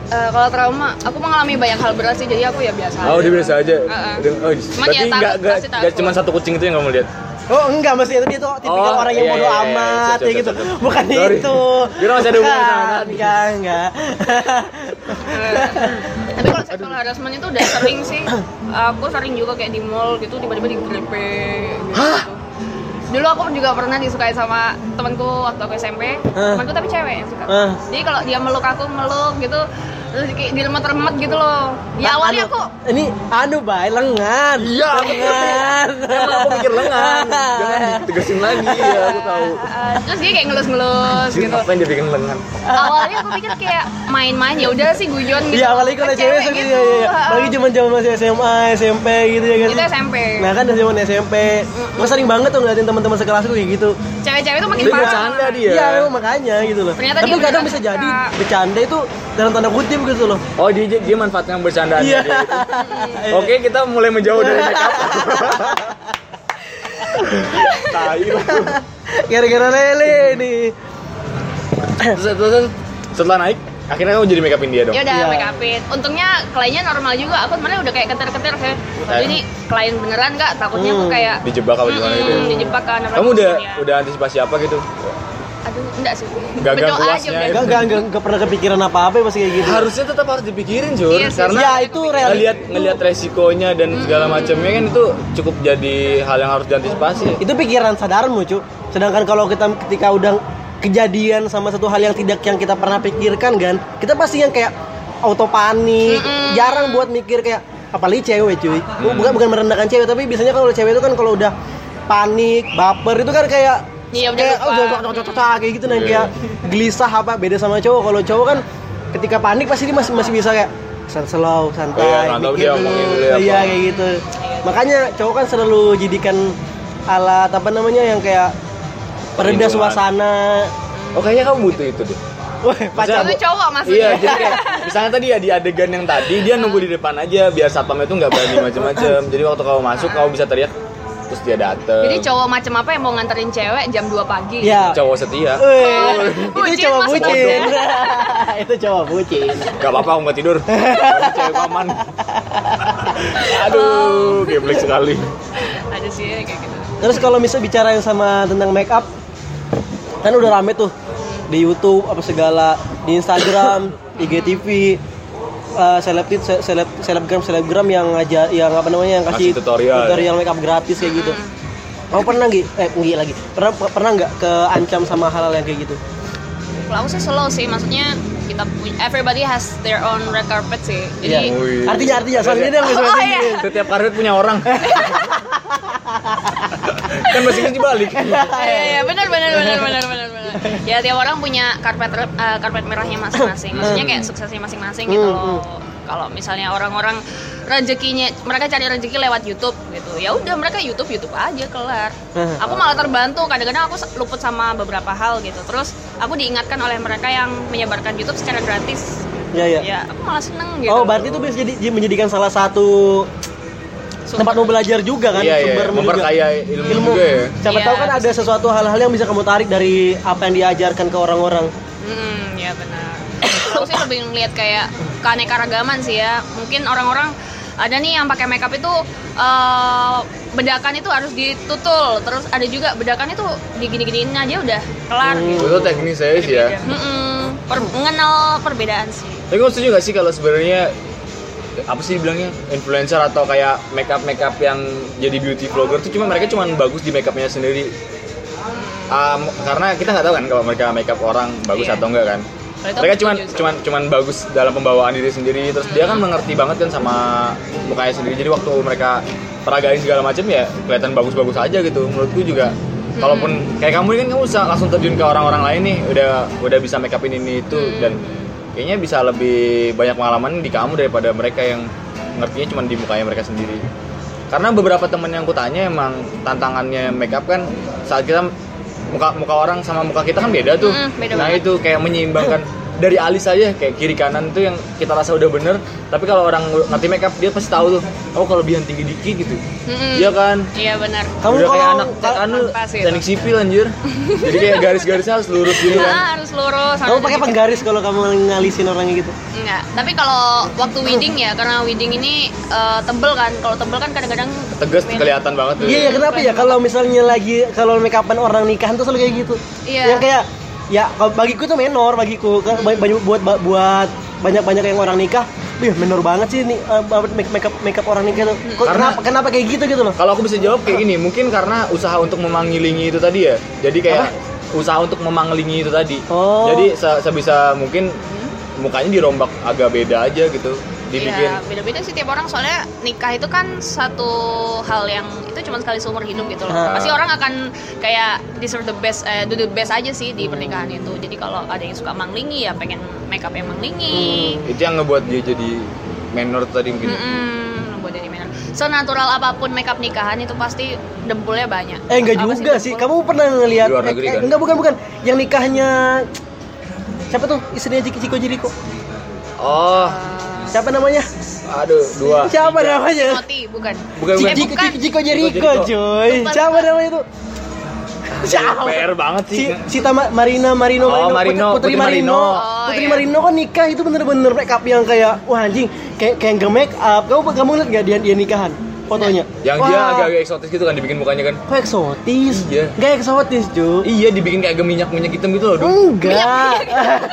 Speaker 3: Eh, kalau trauma aku mengalami banyak hal berat sih jadi aku ya biasa
Speaker 1: Oh, dia biasa aja.
Speaker 3: Heeh.
Speaker 1: Dengan- Oh,
Speaker 3: Cuman
Speaker 1: berarti
Speaker 3: ya takut,
Speaker 1: nggak nggak
Speaker 3: pasti takut.
Speaker 1: nggak cuma satu kucing itu yang kamu lihat.
Speaker 2: Oh enggak maksudnya itu dia tuh tipikal
Speaker 1: Oh,
Speaker 2: orang yang
Speaker 1: iya,
Speaker 2: bodo
Speaker 1: iya, iya,
Speaker 2: amat
Speaker 1: siap,
Speaker 2: ya
Speaker 1: siap,
Speaker 2: gitu.
Speaker 1: siap, siap.
Speaker 2: Bukan
Speaker 1: Sorry.
Speaker 2: itu.
Speaker 1: Kira masih ada hubungan sama
Speaker 2: Bukan,
Speaker 1: tadi.
Speaker 2: Enggak, enggak.
Speaker 3: tapi kalau sexual harassment itu udah sering sih aku sering juga kayak di mall gitu tiba-tiba digrepe gitu dulu aku juga pernah disukai sama temanku waktu aku SMP
Speaker 2: Hah?
Speaker 3: temanku tapi cewek yang suka
Speaker 2: Hah?
Speaker 3: jadi kalau dia meluk aku meluk gitu terus kayak diremet-remet gitu loh ya
Speaker 2: Anu,
Speaker 3: awalnya aku
Speaker 2: ini aduh bay lengan.
Speaker 1: Iya,
Speaker 2: Lengan.
Speaker 1: Emang aku mikir lengan. Jangan ditegasin lagi ya, aku tahu.
Speaker 3: eh, terus dia kayak ngelus-ngelus
Speaker 1: Anjir,
Speaker 3: gitu
Speaker 1: ngapain dia bikin lengan?
Speaker 3: awalnya aku pikir kayak main-main ya udah sih guyon gitu
Speaker 2: Iya awalnya kalau
Speaker 3: Ke
Speaker 2: cewek suka gitu. Iya, iya.
Speaker 3: heeh.
Speaker 2: Lagi zaman-zaman masih SMA, SMP gitu ya kan.
Speaker 3: Ah, itu SMP
Speaker 2: Nah kan dari zaman SMP, gue sering banget tuh ngeliatin teman-teman sekelas gue kayak gitu.
Speaker 3: cewek-cewek itu makin
Speaker 1: Dia
Speaker 3: parah
Speaker 1: bercanda dia.
Speaker 2: Iya memang makanya gitu loh.
Speaker 3: Ternyata
Speaker 2: Tapi
Speaker 3: dia
Speaker 2: kadang
Speaker 3: beneran
Speaker 2: bisa
Speaker 3: suka.
Speaker 2: jadi bercanda itu dalam tanda kutip gitu loh.
Speaker 1: Oh, dia dia manfaatkan bercandaan
Speaker 2: Iya.
Speaker 1: dia itu. Oke, kita mulai menjauh dari make up. Tai lu.
Speaker 2: Gara-gara lele nih.
Speaker 1: Terus, terus, terus, setelah naik, akhirnya kamu jadi make upin dia dong.
Speaker 3: ya udah
Speaker 2: Iya.
Speaker 3: make upin untungnya kliennya normal juga aku kemarin udah kayak keter-keter kayak "Aduh, ini klien beneran nggak takutnya aku
Speaker 2: Hmm.
Speaker 3: kayak
Speaker 1: Kan. Dijebak apa gimana gitu.
Speaker 3: "Mm-mm, dijebak kan apalagi
Speaker 1: Kamu udah
Speaker 3: ya."
Speaker 1: udah antisipasi apa gitu?
Speaker 3: aduh enggak sih
Speaker 1: Gagal
Speaker 3: Berdoa aja
Speaker 1: puasnya ya.
Speaker 3: udah.
Speaker 2: Enggak enggak enggak, enggak pernah kepikiran apa-apa ya masih kayak gitu.
Speaker 1: Harusnya tetap harus dipikirin, Jur,
Speaker 3: Iya sih,
Speaker 1: karena
Speaker 2: ya itu real.
Speaker 1: ngelihat ngelihat resikonya dan segala macamnya kan itu cukup jadi hal yang harus diantisipasi.
Speaker 3: Iya.
Speaker 2: Itu pikiran sadarmu, Cuk. Sedangkan kalau kita ketika udah kejadian sama satu hal yang tidak yang kita pernah pikirkan kan, kita pasti yang kayak auto panik,
Speaker 3: Mm-mm.
Speaker 2: jarang buat mikir kayak apalagi cewek, cuy. Bu- Bukan bukan merendahkan cewek, tapi biasanya kalau cewek itu kan kalau udah panik, baper itu kan kayak
Speaker 3: Iya, udah
Speaker 2: kayak
Speaker 3: lupa.
Speaker 2: oh, cocok, cocok, cocok, kayak gitu nah
Speaker 1: Iya.
Speaker 2: kayak gelisah apa beda sama cowok. Kalau cowok kan ketika panik pasti dia masih masih bisa kayak san- slow, santai,
Speaker 1: Oh iya, nggak tahu
Speaker 2: mikir
Speaker 1: dia
Speaker 2: dulu.
Speaker 1: omongin dulu ya,
Speaker 2: Iya,
Speaker 1: apa.
Speaker 2: kayak gitu makanya cowok kan selalu jadikan alat apa namanya yang kayak pereda
Speaker 1: Perlindungan.
Speaker 2: suasana
Speaker 1: Oh kayaknya kamu butuh itu deh.
Speaker 2: wah pacar
Speaker 3: Itu cowok maksudnya.
Speaker 1: Iya, jadi kayak misalnya tadi ya di adegan yang tadi dia nunggu di depan aja biar satpamnya itu nggak berani macam-macam. Jadi waktu kamu masuk kamu bisa teriak terus dia dateng.
Speaker 3: jadi cowok macam apa yang mau nganterin cewek jam 2 pagi
Speaker 2: ya
Speaker 1: cowok setia.
Speaker 2: Weh,
Speaker 3: Oh, Bucin
Speaker 2: itu cowok
Speaker 3: maksudnya.
Speaker 2: bucin itu cowok bucin
Speaker 1: Gak apa-apa aku nggak tidur. Aku cewek aman. Aduh, geblek sekali.
Speaker 3: ada sih kayak gitu
Speaker 2: terus kalau misal bicara yang sama tentang make up kan udah rame tuh di YouTube apa segala di Instagram IGTV eh selebtit se- seleb selebgram selebgram yang ngajak yang apa namanya yang kasih,
Speaker 1: Kasih tutorial.
Speaker 2: tutorial make up gratis kayak gitu kamu pernah nggak eh nggih lagi pernah pernah nggak keancam sama hal-hal yang kayak gitu
Speaker 3: kalau aku sih slow sih maksudnya kita punya everybody has their own red carpet sih
Speaker 2: Iya.
Speaker 3: jadi
Speaker 1: Wih.
Speaker 2: Artinya artinya soalnya dia nggak bisa
Speaker 3: Oh,
Speaker 2: bahasa
Speaker 3: iya.
Speaker 2: Inggris.
Speaker 1: Setiap karet punya orang. kan masih Inggris dibalik.
Speaker 3: Iya, iya, benar, benar, benar, benar, benar, benar. Ya tiap orang punya karpet re- eh, karpet merahnya masing-masing. Maksudnya kayak suksesnya masing-masing gitu loh. Kalau misalnya orang-orang rezekinya mereka cari rezeki lewat YouTube gitu. Ya udah mereka YouTube YouTube aja kelar.
Speaker 2: Hmm.
Speaker 3: Aku malah terbantu kadang-kadang aku se- luput sama beberapa hal gitu. Terus aku diingatkan oleh mereka yang menyebarkan YouTube secara gratis.
Speaker 2: Iya iya.
Speaker 3: Ya, aku malah seneng gitu.
Speaker 2: Oh, berarti itu bisa jadi dia menjadikan salah satu
Speaker 3: Sumber.
Speaker 2: tempat mau belajar juga kan,
Speaker 1: Iya, iya.
Speaker 2: sumbermu juga.
Speaker 1: Memperkaya ilmu,
Speaker 2: ilmu.
Speaker 1: juga ya.
Speaker 2: Siapa
Speaker 3: Iya.
Speaker 2: tahu kan ada sesuatu hal-hal yang bisa kamu tarik dari apa yang diajarkan ke orang-orang.
Speaker 3: Hmm, ya benar. Kalau aku sih lebih ngeliat kayak keanekaragaman sih ya. Mungkin orang-orang ada nih yang pakai makeup itu eh, bedakan itu harus ditutul terus ada juga bedakan itu digini-giniin aja udah kelar
Speaker 2: Hmm.
Speaker 3: gitu
Speaker 1: itu teknis saya sih ya
Speaker 3: Mm-mm. Per- mengenal perbedaan sih
Speaker 1: tapi kamu setuju gak sih kalau sebenarnya apa sih bilangnya influencer atau kayak makeup makeup yang jadi beauty vlogger tuh cuma mereka cuma bagus di makeupnya sendiri Um, karena kita nggak tahu kan kalau mereka makeup orang bagus
Speaker 3: Iya.
Speaker 1: atau enggak kan
Speaker 3: Kalau itu
Speaker 1: mereka
Speaker 3: aku
Speaker 1: cuman
Speaker 3: setuju sih.
Speaker 1: cuman cuman bagus dalam pembawaan diri sendiri terus dia kan mengerti banget kan sama mukanya sendiri jadi waktu mereka peragain segala macam ya kelihatan bagus-bagus aja gitu menurutku juga kalaupun
Speaker 3: Hmm.
Speaker 1: kayak kamu ini kan kamu bisa langsung terjun ke orang-orang lain nih udah udah bisa make up ini ini itu
Speaker 3: Hmm.
Speaker 1: dan kayaknya bisa lebih banyak pengalaman di kamu daripada mereka yang ngertinya cuman di mukanya mereka sendiri karena beberapa temen yang kutanya emang tantangannya make up kan saat kita muka muka orang sama muka kita kan beda tuh
Speaker 3: Mm, beda
Speaker 1: nah
Speaker 3: banget.
Speaker 1: itu kayak menyeimbangkan dari alis aja kayak kiri kanan tuh yang kita rasa udah bener tapi kalau orang ngerti make up dia pasti tahu tuh oh kelebihan tinggi dikit gitu
Speaker 3: Mm-mm.
Speaker 1: iya kan
Speaker 3: iya benar
Speaker 2: Kamu
Speaker 1: udah kayak
Speaker 2: kalau-
Speaker 1: anak
Speaker 2: kalau-
Speaker 1: anu
Speaker 3: Pas gitu.
Speaker 1: teknik sipil anjir jadi kayak garis-garisnya harus lurus gitu kan
Speaker 3: Ah, harus lurus
Speaker 2: Iya. Kamu
Speaker 3: harus
Speaker 2: pakai
Speaker 3: dikit.
Speaker 2: penggaris kalau kamu ngalisin orangnya gitu.
Speaker 3: Enggak, tapi kalau waktu wedding ya, karena wedding ini eh, tebel kan. Kalau tebel kan kadang-kadang
Speaker 1: tegas kelihatan banget tuh
Speaker 2: Iya ya kenapa ya kalau misalnya lagi kalau make upan orang nikahan tuh selalu kayak gitu.
Speaker 3: Iya. Hmm.
Speaker 2: Yang kayak ya kalau bagiku tuh menor bagiku Kan ba- banyak buat ba- buat banyak-banyak yang orang nikah, wih menor banget sih nih eh, apa, make make up make up orang nikah tuh. Kok,
Speaker 1: Karena-
Speaker 2: kenapa kenapa kayak gitu gitu loh?
Speaker 1: Kalau aku bisa jawab kayak gini, mungkin karena usaha untuk memangilingi itu tadi ya. Jadi kayak usaha untuk memangilingi itu tadi.
Speaker 2: Oh.
Speaker 1: Jadi se- sebisa mungkin mukanya dirombak agak beda aja gitu. Dibikin
Speaker 3: Iya, beda-beda sih tiap orang soalnya nikah itu kan satu hal yang itu cuma sekali seumur hidup gitu loh.
Speaker 2: Ah.
Speaker 3: Pasti orang akan kayak deserve the best eh, do the best aja sih di pernikahan itu. Jadi kalau ada yang suka manglingi ya pengen make up yang manglingi.
Speaker 1: itu yang ngebuat dia jadi menor tadi
Speaker 2: Hmm.
Speaker 1: mungkin.
Speaker 3: Mm-mm, buat jadi manner. Senatural apapun make up nikahan itu pasti dempulnya banyak.
Speaker 2: Eh enggak
Speaker 3: Apa
Speaker 2: juga sih. Kamu
Speaker 3: dempul?
Speaker 2: pernah ngelihat
Speaker 1: Di luar negeri
Speaker 2: eh, eh,
Speaker 1: kan?
Speaker 2: enggak bukan bukan yang nikahnya siapa tuh istrinya Ciko Ciko Jeriko?
Speaker 1: Oh,
Speaker 2: Siapa namanya?
Speaker 1: aduh dua.
Speaker 2: Siapa
Speaker 1: tiga.
Speaker 2: namanya?
Speaker 3: Moti bukan.
Speaker 1: Bukan
Speaker 2: Ciko
Speaker 1: bukan.
Speaker 3: Eh,
Speaker 2: Ciko
Speaker 3: bukan.
Speaker 2: Ciko Jeriko,
Speaker 1: Ciko Jeriko.
Speaker 2: cuy.
Speaker 3: Lupa,
Speaker 2: Siapa
Speaker 3: lupa.
Speaker 2: namanya tuh? Siapa?
Speaker 1: PR banget sih.
Speaker 2: Si, si Tama- Marina Marino
Speaker 1: Oh, Marino, Putri
Speaker 2: Putri, Putri
Speaker 1: Marino.
Speaker 2: Marino,
Speaker 3: Oh,
Speaker 2: Putri
Speaker 3: iya.
Speaker 2: Marino kan nikah itu bener-bener make up yang kayak wah anjing kayak kayak nggak make up kamu kamu lihat nggak dia dia nikahan fotonya
Speaker 1: Iya. Yang
Speaker 2: wah,
Speaker 1: dia agak-agak eksotis gitu kan dibikin mukanya kan.
Speaker 2: kok eksotis
Speaker 1: Iya.
Speaker 2: nggak eksotis cuy
Speaker 1: Iya, dibikin kayak agak minyak-minyak hitam gitu loh. Dul.
Speaker 2: enggak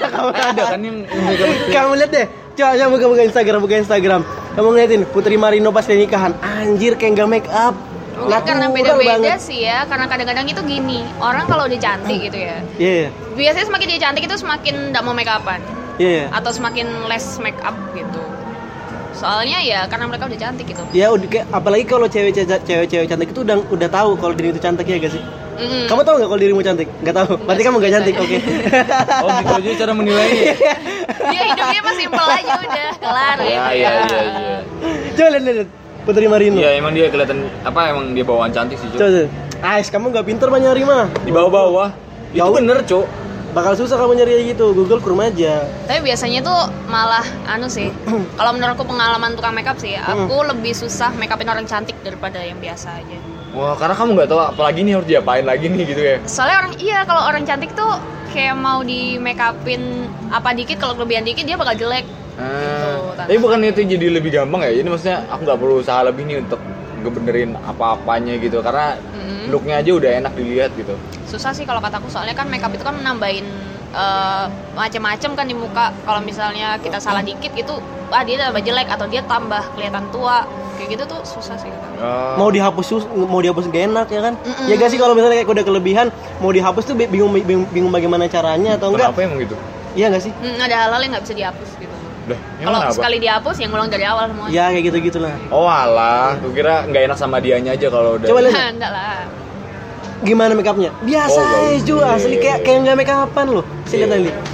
Speaker 2: kamu
Speaker 1: Ada kan yang yang-
Speaker 2: Eh, kamu lihat deh coba coba buka buka Instagram buka Instagram kamu ngeliatin Putri Marino pas dia nikahan anjir kayak nggak make up
Speaker 3: Mungkin Oh, karena
Speaker 2: Natural
Speaker 3: beda-beda
Speaker 2: banget.
Speaker 3: sih ya, karena kadang-kadang itu gini, orang kalau udah cantik gitu ya,
Speaker 2: iya iya
Speaker 3: biasanya semakin dia cantik itu semakin nggak mau make upan
Speaker 2: iya iya.
Speaker 3: atau semakin less make up gitu. Soalnya ya karena mereka udah cantik gitu.
Speaker 2: ya udah kayak- apalagi kalau cewek-cewek cewek-cewek cantik itu udah udah tahu kalau diri itu cantik ya gak sih
Speaker 3: Mm.
Speaker 2: kamu tahu nggak kalau dirimu cantik nggak tahu berarti kamu nggak cantik oke
Speaker 1: Oh, gitu aja cara
Speaker 2: Iya.
Speaker 1: menilainya.
Speaker 3: Dia Iya, hidupnya mah simple aja udah kelar
Speaker 1: Iya,
Speaker 3: gitu
Speaker 1: iya,
Speaker 3: ya.
Speaker 1: iya, iya.
Speaker 2: coba lihat lihat lihat. Putri Marino
Speaker 1: Iya, emang dia kelihatan apa emang dia bawaan cantik sih, Cuk.
Speaker 2: coba lihat. Ais kamu nggak pinter mah nyari mah
Speaker 1: di bawah-bawah itu
Speaker 2: Jauh.
Speaker 1: bener cuk
Speaker 2: bakal susah kamu nyari kayak gitu Google kurma aja
Speaker 3: Tapi biasanya tuh malah anu sih. Kalau menurut aku pengalaman tukang makeup sih, aku lebih susah make upin orang cantik daripada yang biasa aja.
Speaker 1: wah karena kamu nggak tahu apalagi nih harus diapain lagi nih gitu ya
Speaker 3: soalnya orang iya kalau orang cantik tuh kayak mau di make upin apa dikit kalau kelebihan dikit dia bakal jelek
Speaker 1: Ah,
Speaker 3: Tan.
Speaker 1: tapi bukan itu jadi lebih gampang ya ini maksudnya aku nggak perlu usaha lebih nih untuk ngebenerin apa-apanya gitu karena
Speaker 3: Mm.
Speaker 1: looknya aja udah enak dilihat gitu
Speaker 3: susah sih kalau kataku soalnya kan make up itu kan menambahin eh, macem-macem kan di muka kalau misalnya kita salah dikit gitu ah dia tambah jelek atau dia tambah kelihatan tua kayak gitu tuh susah sih kataku.
Speaker 1: Ah,
Speaker 2: mau dihapus sus- mau dihapus gak enak ya kan
Speaker 3: Mm-mm.
Speaker 2: ya gak sih kalau misalnya kayak udah kelebihan mau dihapus tuh bingung bingung, bingung bagaimana caranya atau enggak
Speaker 1: kenapa emang gitu
Speaker 2: iya gak sih
Speaker 3: Hmm, ada hal-hal yang nggak bisa dihapus gitu
Speaker 1: Dah, emang Iya,
Speaker 3: kalau
Speaker 1: kenapa?
Speaker 3: sekali dihapus yang ngulang dari awal semua
Speaker 2: ya kayak gitu gitulah
Speaker 1: oh alah aku kira nggak enak sama dianya aja kalau udah
Speaker 2: Coba lihat.
Speaker 3: enggak lah
Speaker 2: gimana make upnya
Speaker 1: Oh,
Speaker 2: biasa aja
Speaker 1: bagus.
Speaker 2: cuy asli kayak kayak nggak make upan loh sih
Speaker 1: Iya.
Speaker 2: lihat lihat.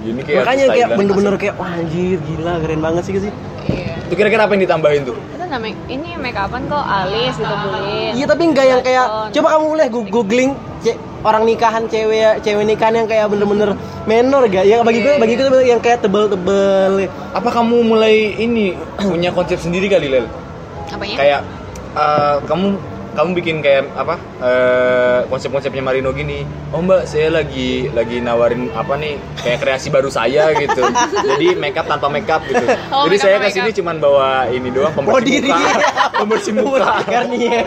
Speaker 1: gini kayak
Speaker 2: makanya
Speaker 1: artis
Speaker 2: kayak
Speaker 1: Thailand.
Speaker 2: bener-bener kayak wah anjir gila keren banget sih sih
Speaker 3: iya
Speaker 1: itu kira-kira apa yang ditambahin tuh
Speaker 3: itu namanya ini make upan kok alis gitu, ditebelin
Speaker 2: iya tapi nggak yang kayak
Speaker 3: Backbone.
Speaker 2: coba kamu boleh gu- googling ce- orang nikahan cewek cewek nikahan yang kayak bener-bener menor gak ya bagi gue
Speaker 3: Iya.
Speaker 2: bagi gue tuh yang kayak tebel-tebel
Speaker 1: apa kamu mulai ini punya konsep sendiri kali Lel
Speaker 3: apanya
Speaker 1: kayak eh, kamu kamu bikin kayak apa eh, konsep-konsepnya Marino gini oh mbak saya lagi lagi nawarin apa nih kayak kreasi baru saya gitu jadi makeup tanpa makeup gitu
Speaker 3: Oh,
Speaker 1: jadi
Speaker 3: makeup
Speaker 1: saya
Speaker 3: tanpa
Speaker 1: kesini
Speaker 3: makeup.
Speaker 1: cuman bawa ini doang
Speaker 2: Body
Speaker 1: pembersih muka
Speaker 2: dia.
Speaker 1: pembersih muka
Speaker 2: Garnier.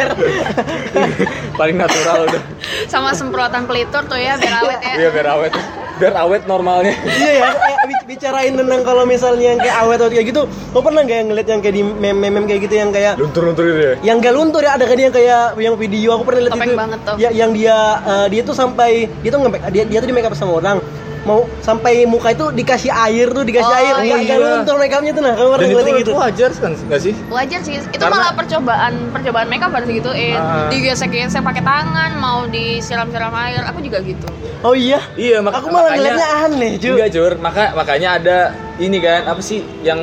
Speaker 1: paling natural udah
Speaker 3: sama semprotan pelitur tuh ya biar awet ya
Speaker 1: iya biar awet biar awet normalnya
Speaker 2: Iya ya, eh, bi- bicarain tentang kalau misalnya yang kayak awet atau kayak gitu, lo pernah nggak yang ngeliat yang kayak di meme-meme kayak gitu yang kayak
Speaker 1: luntur-luntur gitu ya
Speaker 2: yang gak luntur ya ada kan yang kayak yang video aku pernah lihat
Speaker 3: Topeng
Speaker 2: itu
Speaker 3: banget tuh.
Speaker 2: ya yang dia eh, dia tuh sampai dia tuh nge dia, dia tuh di make up sama orang mau sampai muka itu dikasih air tuh dikasih
Speaker 3: Oh,
Speaker 2: air nggak
Speaker 1: iya.
Speaker 2: nggak luntur make upnya tuh nah kamu pernah
Speaker 1: dan
Speaker 2: ngeliat
Speaker 1: itu
Speaker 2: yang gitu
Speaker 1: itu wajar kan nggak sih
Speaker 3: wajar sih itu
Speaker 1: Karena-
Speaker 3: malah percobaan percobaan kan mereka baru segituin
Speaker 1: Ah.
Speaker 3: digesek-gesek pakai tangan mau disiram-siram air aku juga gitu
Speaker 2: oh iya
Speaker 1: Iya, mak-
Speaker 2: aku
Speaker 1: makanya- Iya.
Speaker 2: malah ngeliatnya aneh cuy
Speaker 1: Enggak, Jur. Maka makanya ada ini kan, apa sih yang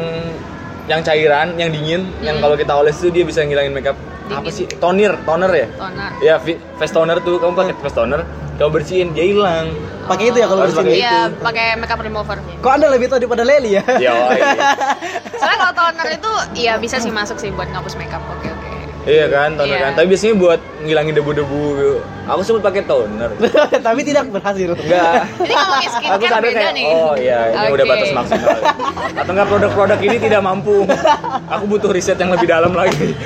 Speaker 1: yang cairan, yang dingin, yang kalau kita oles itu dia bisa ngilangin makeup. Apa
Speaker 3: Hmm. Dingin.
Speaker 1: sih? Toner, toner ya?
Speaker 3: toner
Speaker 1: Ya, vi- face toner tuh kamu
Speaker 3: Hmm.
Speaker 1: pakai face toner, kamu bersihin dia hilang.
Speaker 2: pakai itu ya kalau
Speaker 1: Harus pakai
Speaker 2: bersihin
Speaker 3: iya pakai makeup remover
Speaker 2: kok anda lebih tahu daripada Leli ya
Speaker 1: Ya, oh, iya.
Speaker 3: soalnya kalau toner itu ya bisa sih masuk sih buat ngapus makeup oke oke
Speaker 1: Iya kan, toner
Speaker 3: Iya.
Speaker 1: kan. Tapi biasanya buat ngilangin debu-debu gitu. Aku sempat pakai toner.
Speaker 2: tapi tidak
Speaker 1: Iya,
Speaker 2: berhasil
Speaker 1: Enggak.
Speaker 3: ini ngomongin
Speaker 1: Aku
Speaker 3: skincare
Speaker 1: sadar
Speaker 3: beda
Speaker 1: kayak,
Speaker 3: nih
Speaker 1: oh iya, ini udah
Speaker 3: Oke.
Speaker 1: batas maksimal. Atau enggak produk-produk ini tidak mampu. Aku butuh riset yang lebih dalam lagi.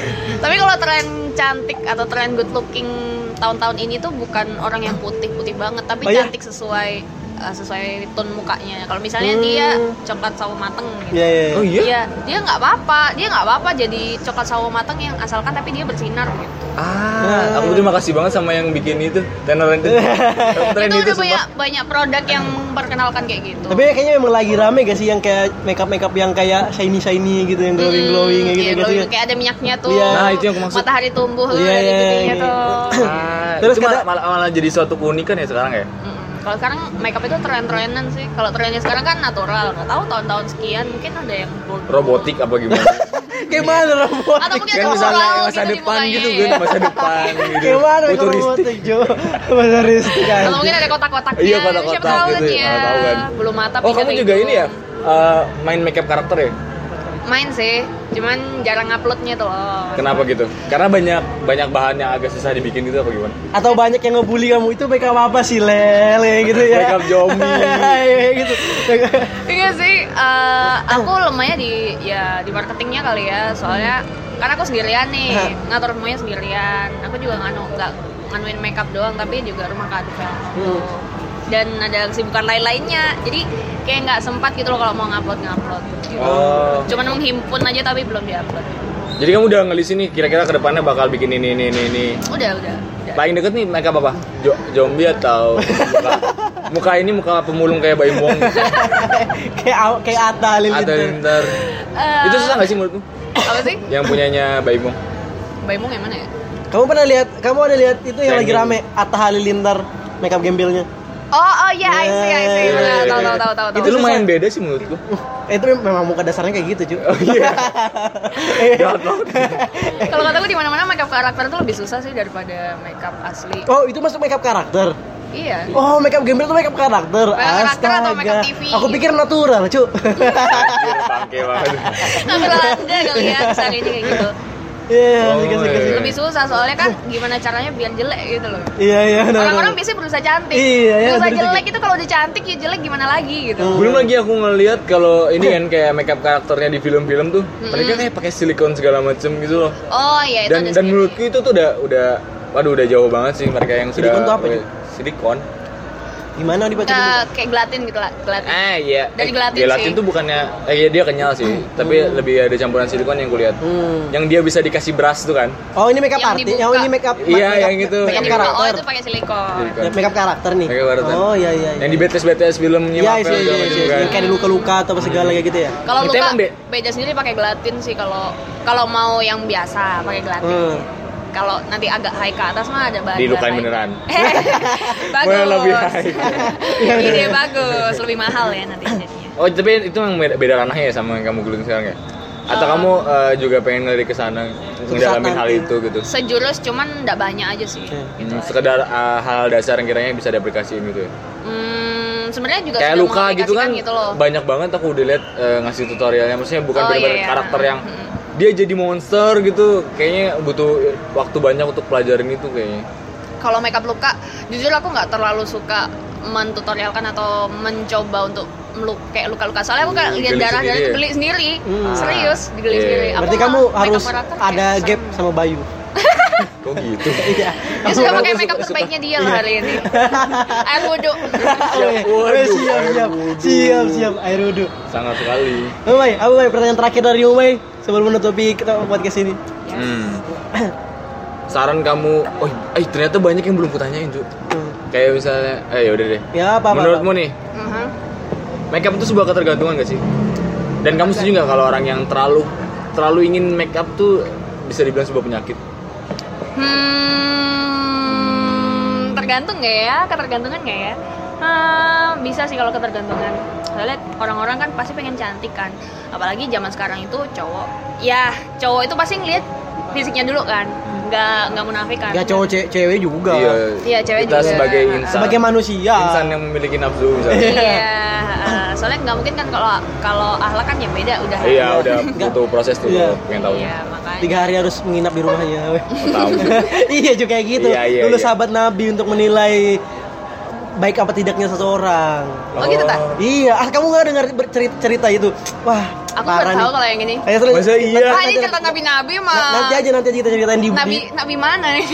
Speaker 3: tapi kalau tren cantik atau tren good looking tahun-tahun ini tuh bukan orang yang putih-putih banget tapi
Speaker 2: Oh, iya?
Speaker 3: cantik sesuai uh, sesuai tone mukanya kalau misalnya dia
Speaker 1: Hmm.
Speaker 3: coklat sawo mateng gitu
Speaker 2: Iya, iya.
Speaker 1: Oh
Speaker 2: iya.
Speaker 1: iya.
Speaker 3: Iya, dia nggak apa-apa, dia nggak apa-apa jadi coklat sawo matang yang asalkan tapi dia bersinar gitu.
Speaker 1: Ah, aku terima kasih banget sama yang bikin itu tenor itu. Tren
Speaker 3: itu,
Speaker 1: itu
Speaker 3: udah banyak
Speaker 1: sumpah.
Speaker 3: banyak produk yang memperkenalkan kayak gitu.
Speaker 2: Tapi kayaknya memang lagi rame gak sih yang kayak makeup makeup yang kayak shiny shiny gitu yang glowing glowing
Speaker 3: Hmm,
Speaker 2: kayak gitu
Speaker 3: iya,
Speaker 2: gak sih?
Speaker 3: glowing. kayak ada minyaknya tuh.
Speaker 2: Iya.
Speaker 1: ya. Nah, itu yang aku maksud.
Speaker 3: Matahari tumbuh
Speaker 2: Iya,
Speaker 3: dari
Speaker 2: iya,
Speaker 3: pipinya
Speaker 2: iya.
Speaker 3: tuh.
Speaker 1: Ah,
Speaker 2: Terus
Speaker 1: itu malah,
Speaker 2: kata-
Speaker 1: malah, malah jadi suatu keunikan ya sekarang ya.
Speaker 3: Mm, Kalau sekarang makeup itu tren-trenan sih. Kalau trennya sekarang kan natural. Nggak tahu tahun-tahun sekian mungkin ada yang bold.
Speaker 1: Robotik apa gimana?
Speaker 2: Gimana robot?
Speaker 3: Atau mungkin
Speaker 1: kan
Speaker 3: ada
Speaker 1: misalnya
Speaker 3: floral
Speaker 1: masa
Speaker 3: gitu di
Speaker 1: depan
Speaker 3: mukanya,
Speaker 1: gitu
Speaker 3: ya.
Speaker 1: kan, masa depan gitu.
Speaker 2: Gimana makeup
Speaker 1: Futuristik.
Speaker 2: robotik Jo? Futuristik aja.
Speaker 3: Atau mungkin ada kotak-kotaknya.
Speaker 1: Iya, kotak-kotak
Speaker 3: Siapa tahu kan
Speaker 1: gitu.
Speaker 3: ya.
Speaker 1: Nggak tahu kan.
Speaker 3: Belum mata
Speaker 1: Oh, kamu
Speaker 3: pindah
Speaker 1: juga
Speaker 3: itu.
Speaker 1: ini ya? eh, main makeup karakter ya?
Speaker 3: Main sih, cuman jarang uploadnya tuh loh.
Speaker 1: Kenapa gitu? Karena banyak banyak bahan yang agak susah dibikin gitu apa gimana?
Speaker 2: Atau banyak yang ngebully kamu itu makeup apa sih lele gitu ya?
Speaker 1: Makeup zombie.
Speaker 2: Iya gitu.
Speaker 3: Iya sih, eh, aku lemahnya di ya di marketingnya kali ya, soalnya karena aku sendirian nih,
Speaker 2: Hah.
Speaker 3: ngatur semuanya sendirian. Aku juga nganu nggak nganuin makeup doang, tapi juga rumah kaduvel.
Speaker 2: Hmm.
Speaker 3: Dan ada kesibukan lain-lainnya, jadi kayak nggak sempat gitu loh kalau mau ngupload ngupload. Gitu.
Speaker 1: Oh.
Speaker 3: Cuman menghimpun aja tapi belum diupload.
Speaker 1: Jadi kamu udah ngelis ini kira-kira kedepannya bakal bikin ini ini ini ini.
Speaker 3: Udah udah. udah.
Speaker 1: Paling deket nih makeup apa? Jo- zombie atau muka, muka ini muka pemulung kayak gitu. bayi muang
Speaker 2: Kayak aw- kayak Atta
Speaker 1: atau
Speaker 2: Lilintar.
Speaker 1: linter.
Speaker 3: Eh,
Speaker 1: Itu susah nggak sih menurutmu?
Speaker 3: Apa sih?
Speaker 1: Yang punyanya bayi muang?
Speaker 3: Baimung yang mana ya?
Speaker 2: Kamu pernah lihat? Kamu ada lihat itu yang lagi
Speaker 1: Gembel.
Speaker 2: rame Atta Halilintar makeup gembelnya?
Speaker 3: Oh oh ya, I see I see.
Speaker 2: Iya,
Speaker 1: iya,
Speaker 3: Benar, tahu
Speaker 1: iya.
Speaker 3: tahu tahu tahu.
Speaker 1: Itu
Speaker 3: tahu.
Speaker 1: lumayan beda sih menurutku.
Speaker 2: Eh, itu memang muka dasarnya kayak gitu, Eh. cuy.
Speaker 1: Oh iya. Jahat banget.
Speaker 3: Kalau kata gue di mana-mana makeup karakter tuh lebih susah sih daripada makeup asli.
Speaker 2: Oh, itu masuk makeup karakter.
Speaker 3: Iya.
Speaker 2: Oh, makeup gembel itu makeup karakter.
Speaker 3: Makeup karakter atau makeup TV?
Speaker 2: Aku pikir natural, cu.
Speaker 1: Anjir, Bangke banget.
Speaker 3: Ngambil anda kali ya misalnya kayak gitu.
Speaker 2: Iya,
Speaker 1: Oh,
Speaker 2: kasih, kasih.
Speaker 1: iya.
Speaker 3: Lebih susah soalnya kan gimana caranya biar jelek gitu loh.
Speaker 2: Iya, iya. benar,
Speaker 3: Orang-orang
Speaker 2: benar.
Speaker 3: biasanya berusaha cantik.
Speaker 2: Iya, iya,
Speaker 3: berusaha
Speaker 2: bener.
Speaker 3: jelek itu kalau udah cantik ya jelek gimana lagi gitu.
Speaker 1: Belum lagi aku ngelihat kalau ini kan kayak makeup karakternya di film-film tuh, mereka kayak pakai silikon segala macem gitu loh.
Speaker 3: Oh iya itu
Speaker 1: Dan
Speaker 3: ada
Speaker 1: dan
Speaker 3: sih.
Speaker 1: menurutku Hmm. itu tuh udah udah waduh udah jauh banget sih mereka yang sudah eh,
Speaker 2: Silikon tuh apa, Ju?
Speaker 1: Silikon.
Speaker 2: Gimana dibaca dulu?
Speaker 3: Nah, kayak gelatin gitu lah, gelatin.
Speaker 1: Ah iya.
Speaker 3: Dari
Speaker 1: Eh,
Speaker 3: gelatin sih.
Speaker 1: tuh bukannya eh iya, dia kenyal sih, tapi lebih ada campuran silikon yang kulihat.
Speaker 2: Hmm.
Speaker 1: Yang dia bisa dikasih brush tuh kan.
Speaker 2: Oh, ini makeup
Speaker 3: Yang
Speaker 2: arti.
Speaker 3: dibuka.
Speaker 2: Yang ini makeup
Speaker 1: Iya, yang itu.
Speaker 2: Makeup
Speaker 3: Yang
Speaker 1: Yang
Speaker 3: dibuka, oh
Speaker 2: karakter. Ya,
Speaker 3: itu pakai silikon.
Speaker 1: Silikon.
Speaker 2: Makeup karakter nih.
Speaker 1: Makeup karakter.
Speaker 2: Oh, iya, iya. iya.
Speaker 1: Yang di BTS BTS filmnya
Speaker 2: Iya,
Speaker 1: Marvel
Speaker 2: iya, iya,
Speaker 1: segala
Speaker 2: iya,
Speaker 1: macam
Speaker 2: iya.
Speaker 1: kan. Iya.
Speaker 2: Yang kayak ada luka-luka atau segala kayak gitu ya.
Speaker 3: Kalau
Speaker 1: Itu
Speaker 3: luka
Speaker 1: emang be-
Speaker 3: beda sendiri pakai gelatin sih kalau kalau mau yang biasa pakai gelatin.
Speaker 2: Hmm.
Speaker 3: Kalau nanti agak high ke atas mah ada bahan.
Speaker 1: Dilukain
Speaker 3: lain.
Speaker 1: beneran.
Speaker 3: bagus.
Speaker 1: Boleh lebih high.
Speaker 3: Ide bagus, lebih mahal ya nanti jadinya.
Speaker 1: Oh, tapi itu yang beda, beda ranahnya ya sama yang kamu gelutin sekarang ya?
Speaker 3: Ah.
Speaker 1: Atau kamu eh, juga pengen ngelirik ke sana, ngedalamin hal
Speaker 3: iya.
Speaker 2: nanti.
Speaker 1: itu gitu?
Speaker 3: Sejurus cuman nggak banyak aja sih. gitu.
Speaker 2: Oke.
Speaker 1: Hmm, sekedar eh, hal dasar yang kiranya bisa diaplikasiin gitu ya?
Speaker 3: Hmm, sebenarnya juga
Speaker 1: Kayak
Speaker 3: sudah
Speaker 1: luka gitu
Speaker 3: mengaplikasikan
Speaker 1: kan,
Speaker 3: gitu loh.
Speaker 1: banyak banget aku udah lihat eh, ngasih tutorialnya Maksudnya bukan
Speaker 3: Oh,
Speaker 1: bener-bener
Speaker 3: iya, iya.
Speaker 1: karakter yang
Speaker 3: Mm-mm.
Speaker 1: dia jadi monster gitu kayaknya butuh waktu banyak untuk pelajarin itu kayaknya
Speaker 3: Kalau makeup luka, jujur aku nggak terlalu suka mentutorialkan atau mencoba untuk meluk kayak luka-luka. Soalnya aku kayak
Speaker 1: Hmm,
Speaker 3: lihat
Speaker 1: geli
Speaker 3: darah darah
Speaker 1: sendiri
Speaker 3: itu
Speaker 1: ya?
Speaker 3: geli sendiri,
Speaker 2: Hmm.
Speaker 3: serius digeli
Speaker 1: Iya.
Speaker 3: sendiri. Aku
Speaker 2: Berarti
Speaker 3: malah
Speaker 2: kamu
Speaker 3: makeup
Speaker 2: harus
Speaker 3: merata kayak
Speaker 2: ada
Speaker 3: serem.
Speaker 2: gap sama Bayu.
Speaker 1: kok gitu
Speaker 2: Iya.
Speaker 3: Dia sudah
Speaker 1: Aku
Speaker 3: pakai
Speaker 1: suka-
Speaker 3: makeup
Speaker 1: suka-
Speaker 3: terbaiknya dia lah hari ini. Air wudhu.
Speaker 1: Siap,
Speaker 2: Weh,
Speaker 1: Ya, waduh,
Speaker 2: Eh, siap,
Speaker 1: air
Speaker 2: siap,
Speaker 1: wudhu.
Speaker 2: siap, siap, air wudhu.
Speaker 1: sangat sekali
Speaker 2: Umay, apa Umay? Pertanyaan terakhir dari Umay sebelum menutupi kita podcast ini.
Speaker 1: hmm. saran kamu oh eh, ternyata banyak yang belum kutanyain tuh
Speaker 2: Hmm.
Speaker 1: kayak misalnya eh yaudah deh
Speaker 2: Ya apa apa.
Speaker 1: menurutmu nih
Speaker 3: Mhm.
Speaker 1: makeup itu sebuah ketergantungan gak sih dan kamu setuju nggak kalau orang yang terlalu terlalu ingin makeup tuh bisa dibilang sebuah penyakit
Speaker 3: Hmm, tergantung nggak ya? Ketergantungan nggak ya? Hmm, bisa sih kalau ketergantungan. Soalnya orang-orang kan pasti pengen cantik kan. Apalagi zaman sekarang itu cowok. Ya, cowok itu pasti ngeliat fisiknya dulu kan. Nggak nggak munafik kan.
Speaker 2: Gak Ya, cowok ce- cewek juga.
Speaker 3: Iya, cewek
Speaker 1: kita
Speaker 3: juga.
Speaker 1: sebagai insan
Speaker 2: Sebagai manusia.
Speaker 1: insan ya. yang memiliki nafsu misalnya
Speaker 3: Iya, eh, soalnya nggak mungkin kan kalau kalau ahlak kan ya beda udah.
Speaker 1: iya udah butuh proses tuh
Speaker 2: Iya.
Speaker 1: pengen tahu
Speaker 3: Iya, makanya.
Speaker 2: Tiga hari harus menginap di rumahnya. weh.
Speaker 1: tahu
Speaker 2: iya juga kayak gitu.
Speaker 1: Iya, iya,
Speaker 2: Dulu
Speaker 1: iya.
Speaker 2: sahabat Nabi untuk menilai baik apa tidaknya seseorang.
Speaker 3: Oh, gitu, Tan?
Speaker 2: Iya, ah kamu nggak dengar ber- cerita, cerita itu? Wah,
Speaker 3: Aku baru
Speaker 2: parah
Speaker 3: tahu
Speaker 2: nih.
Speaker 3: kalau yang ini.
Speaker 2: Ayo, Sule.
Speaker 1: Masa iya?
Speaker 2: Nanti-
Speaker 3: Ah, ini
Speaker 2: nanti-
Speaker 3: cerita nabi-nabi mah.
Speaker 2: na- Nanti aja nanti aja kita ceritain di
Speaker 3: Nabi
Speaker 2: di-
Speaker 3: nabi mana nih?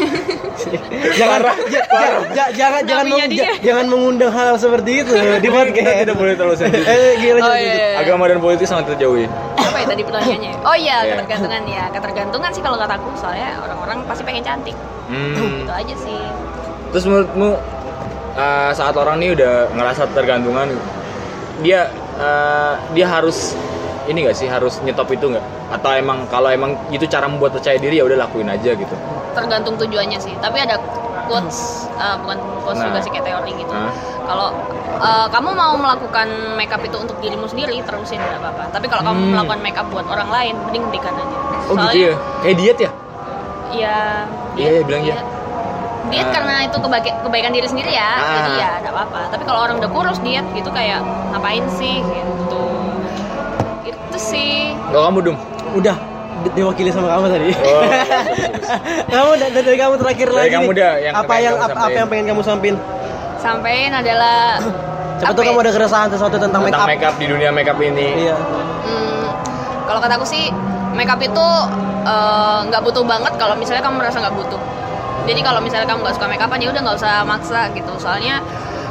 Speaker 2: jangan ja- ja- ja- jangan jangan
Speaker 3: Nabinya
Speaker 2: meng-
Speaker 3: dia.
Speaker 2: ja- jangan mengundang hal seperti itu di
Speaker 1: kita
Speaker 2: podcast.
Speaker 1: tidak boleh terlalu sensitif
Speaker 2: Eh, gila,
Speaker 3: Oh,
Speaker 2: gila,
Speaker 3: iya,
Speaker 2: gila.
Speaker 3: iya.
Speaker 1: agama dan politik sangat terjauhi
Speaker 3: apa ya tadi pertanyaannya oh iya
Speaker 1: Iya.
Speaker 3: ketergantungan ya ketergantungan sih kalau kataku soalnya orang-orang pasti pengen cantik
Speaker 1: hmm.
Speaker 3: itu aja sih
Speaker 1: Terus menurutmu uh, saat orang nih udah ngerasa tergantungan, dia uh, dia harus ini gak sih harus nyetop itu nggak? Atau emang kalau emang itu cara membuat percaya diri ya udah lakuin aja gitu.
Speaker 3: tergantung tujuannya sih tapi ada quotes eh, bukan quotes
Speaker 1: Nah.
Speaker 3: juga sih kayak teori gitu
Speaker 1: Nah.
Speaker 3: kalau eh, kamu mau melakukan makeup itu untuk dirimu sendiri terusin nggak apa-apa tapi kalau kamu
Speaker 1: Hmm.
Speaker 3: melakukan makeup buat orang lain mending hentikan aja
Speaker 1: Oh gitu ya? Kayak diet ya?
Speaker 3: ya
Speaker 1: Iya, iya, bilang iya.
Speaker 3: diet. diet
Speaker 1: Nah.
Speaker 3: karena itu kebaikan, kebaikan diri sendiri ya
Speaker 1: Ah.
Speaker 3: jadi ya nggak apa-apa tapi kalau orang udah kurus diet gitu kayak ngapain sih gitu itu sih
Speaker 1: Kalau kamu dum?
Speaker 2: Udah di- diwakili sama kamu tadi.
Speaker 1: Oh,
Speaker 2: kamu da- dari, kamu terakhir
Speaker 1: Dari
Speaker 2: lagi.
Speaker 1: kamu
Speaker 2: nih.
Speaker 1: dah, yang
Speaker 2: apa
Speaker 1: pengen
Speaker 2: yang
Speaker 1: kamu
Speaker 2: apa, apa
Speaker 1: sampein.
Speaker 2: yang pengen kamu sampein?
Speaker 3: sampein adalah
Speaker 2: Siapa tuh
Speaker 3: apa
Speaker 2: kamu
Speaker 3: ya?
Speaker 2: ada keresahan sesuatu tentang,
Speaker 1: tentang
Speaker 2: make up?
Speaker 1: makeup di dunia makeup ini.
Speaker 2: Iya.
Speaker 3: Hmm, kalau kata aku sih makeup itu eh, nggak butuh banget kalau misalnya kamu merasa nggak butuh jadi kalau misalnya kamu nggak suka makeupan ya udah nggak usah maksa gitu soalnya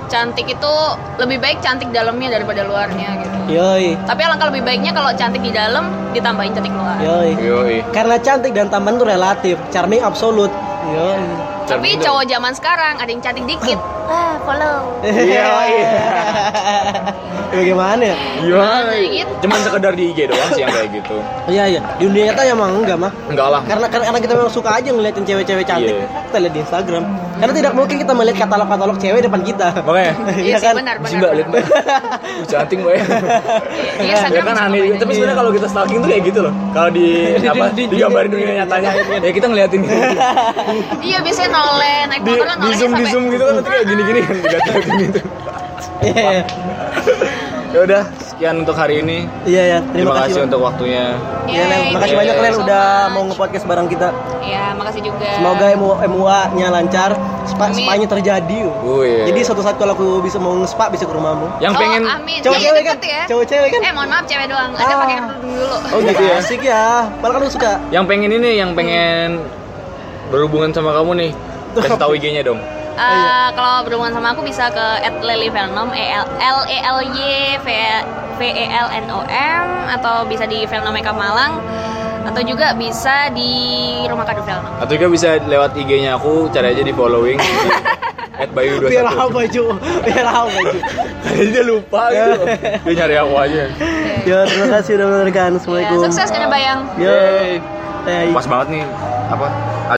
Speaker 3: cantik itu lebih baik cantik dalamnya daripada luarnya gitu
Speaker 2: Yoi.
Speaker 3: tapi alangkah lebih baiknya kalau cantik di dalam ditambahin cantik luar
Speaker 2: Yoi.
Speaker 1: Yoi.
Speaker 2: Karena cantik dan tampan itu relatif, charming absolut. Yoi.
Speaker 3: tapi
Speaker 1: Cermin tuh.
Speaker 3: cowok zaman sekarang ada yang cantik dikit ah follow
Speaker 1: Yoi.
Speaker 2: Bagaimana ya?
Speaker 1: Gimana?
Speaker 3: Kayak gitu.
Speaker 1: Cuman sekedar di IG doang sih yang kayak gitu.
Speaker 2: Iya iya, di dunia nyata emang enggak mah.
Speaker 1: Enggak lah.
Speaker 2: Karena karena kita memang suka aja ngeliatin cewek-cewek cantik.
Speaker 1: Iya.
Speaker 2: Kita lihat di Instagram. Karena tidak mungkin kita melihat katalog-katalog cewek depan kita.
Speaker 1: Makanya.
Speaker 3: iya
Speaker 2: Iya
Speaker 3: sih
Speaker 2: kan?
Speaker 3: benar
Speaker 1: Sih
Speaker 3: benar
Speaker 1: mbak, lihat mbak. Uh, cantik mbak ya.
Speaker 3: iya
Speaker 1: Ya
Speaker 3: Instagram
Speaker 1: kan aneh
Speaker 3: bisa
Speaker 1: juga.
Speaker 3: ngapain
Speaker 1: Tapi
Speaker 3: aja.
Speaker 1: sebenarnya kalau kita stalking tuh kayak gitu loh. Kalau di apa
Speaker 2: di- di-
Speaker 1: digambarin
Speaker 2: di-
Speaker 1: dunia
Speaker 2: di-
Speaker 1: nyatanya ya kita ngeliatin gitu.
Speaker 3: iya biasanya nolen naik
Speaker 1: Di,
Speaker 3: motor kan
Speaker 1: di
Speaker 3: nolennya
Speaker 1: zoom di
Speaker 3: sampai-
Speaker 1: zoom gitu kan nanti kayak gini-gini
Speaker 2: Ah.
Speaker 1: kan diliatin gitu.
Speaker 2: Iya iya.
Speaker 1: Ya udah, sekian untuk hari ini.
Speaker 2: Iya iya,
Speaker 1: Terima, kasih, untuk waktunya.
Speaker 2: Iya, Len.
Speaker 3: Yeay,
Speaker 2: makasih
Speaker 1: Yeay.
Speaker 2: banyak Len
Speaker 3: so
Speaker 2: udah
Speaker 3: much.
Speaker 2: mau nge-podcast bareng kita.
Speaker 3: Iya, makasih juga.
Speaker 2: Semoga MUA-nya lancar, spa,
Speaker 3: Amin.
Speaker 2: spanya terjadi.
Speaker 1: Oh, iya.
Speaker 2: Jadi suatu saat kalau aku bisa mau nge-spa bisa ke rumahmu.
Speaker 1: Yang
Speaker 3: Oh,
Speaker 1: pengen
Speaker 3: amin.
Speaker 2: Cowok
Speaker 3: Iya,
Speaker 2: cewek
Speaker 3: deket
Speaker 2: kan? Cowok cewek kan?
Speaker 3: Eh, mohon maaf cewek doang. Ada
Speaker 2: Ah.
Speaker 3: pakai kerudung dulu.
Speaker 1: Oh gitu ya.
Speaker 2: Asik ya. Padahal kan lu suka
Speaker 1: Yang pengen ini yang pengen berhubungan sama kamu nih. Kasih tahu IG-nya dong.
Speaker 2: iya.
Speaker 3: Eh, kalau berhubungan sama aku bisa ke @lelyvelnom e l l e l y v v e l n o m atau bisa di Velnom Makeup Malang atau juga bisa di Rumah Kado Velnom.
Speaker 1: Atau juga bisa lewat IG-nya aku, cari aja di following.
Speaker 2: biar
Speaker 1: @bayu21.
Speaker 2: apa Ju? Biar apa Ju?
Speaker 1: Jadi dia lupa gitu. Dia nyari aku aja.
Speaker 2: Ya, terima kasih udah menonton.
Speaker 3: Ya,
Speaker 2: Assalamualaikum.
Speaker 3: sukses Kena Bayang.
Speaker 2: Yo.
Speaker 1: Yeay.
Speaker 2: Hey.
Speaker 1: Pas banget nih apa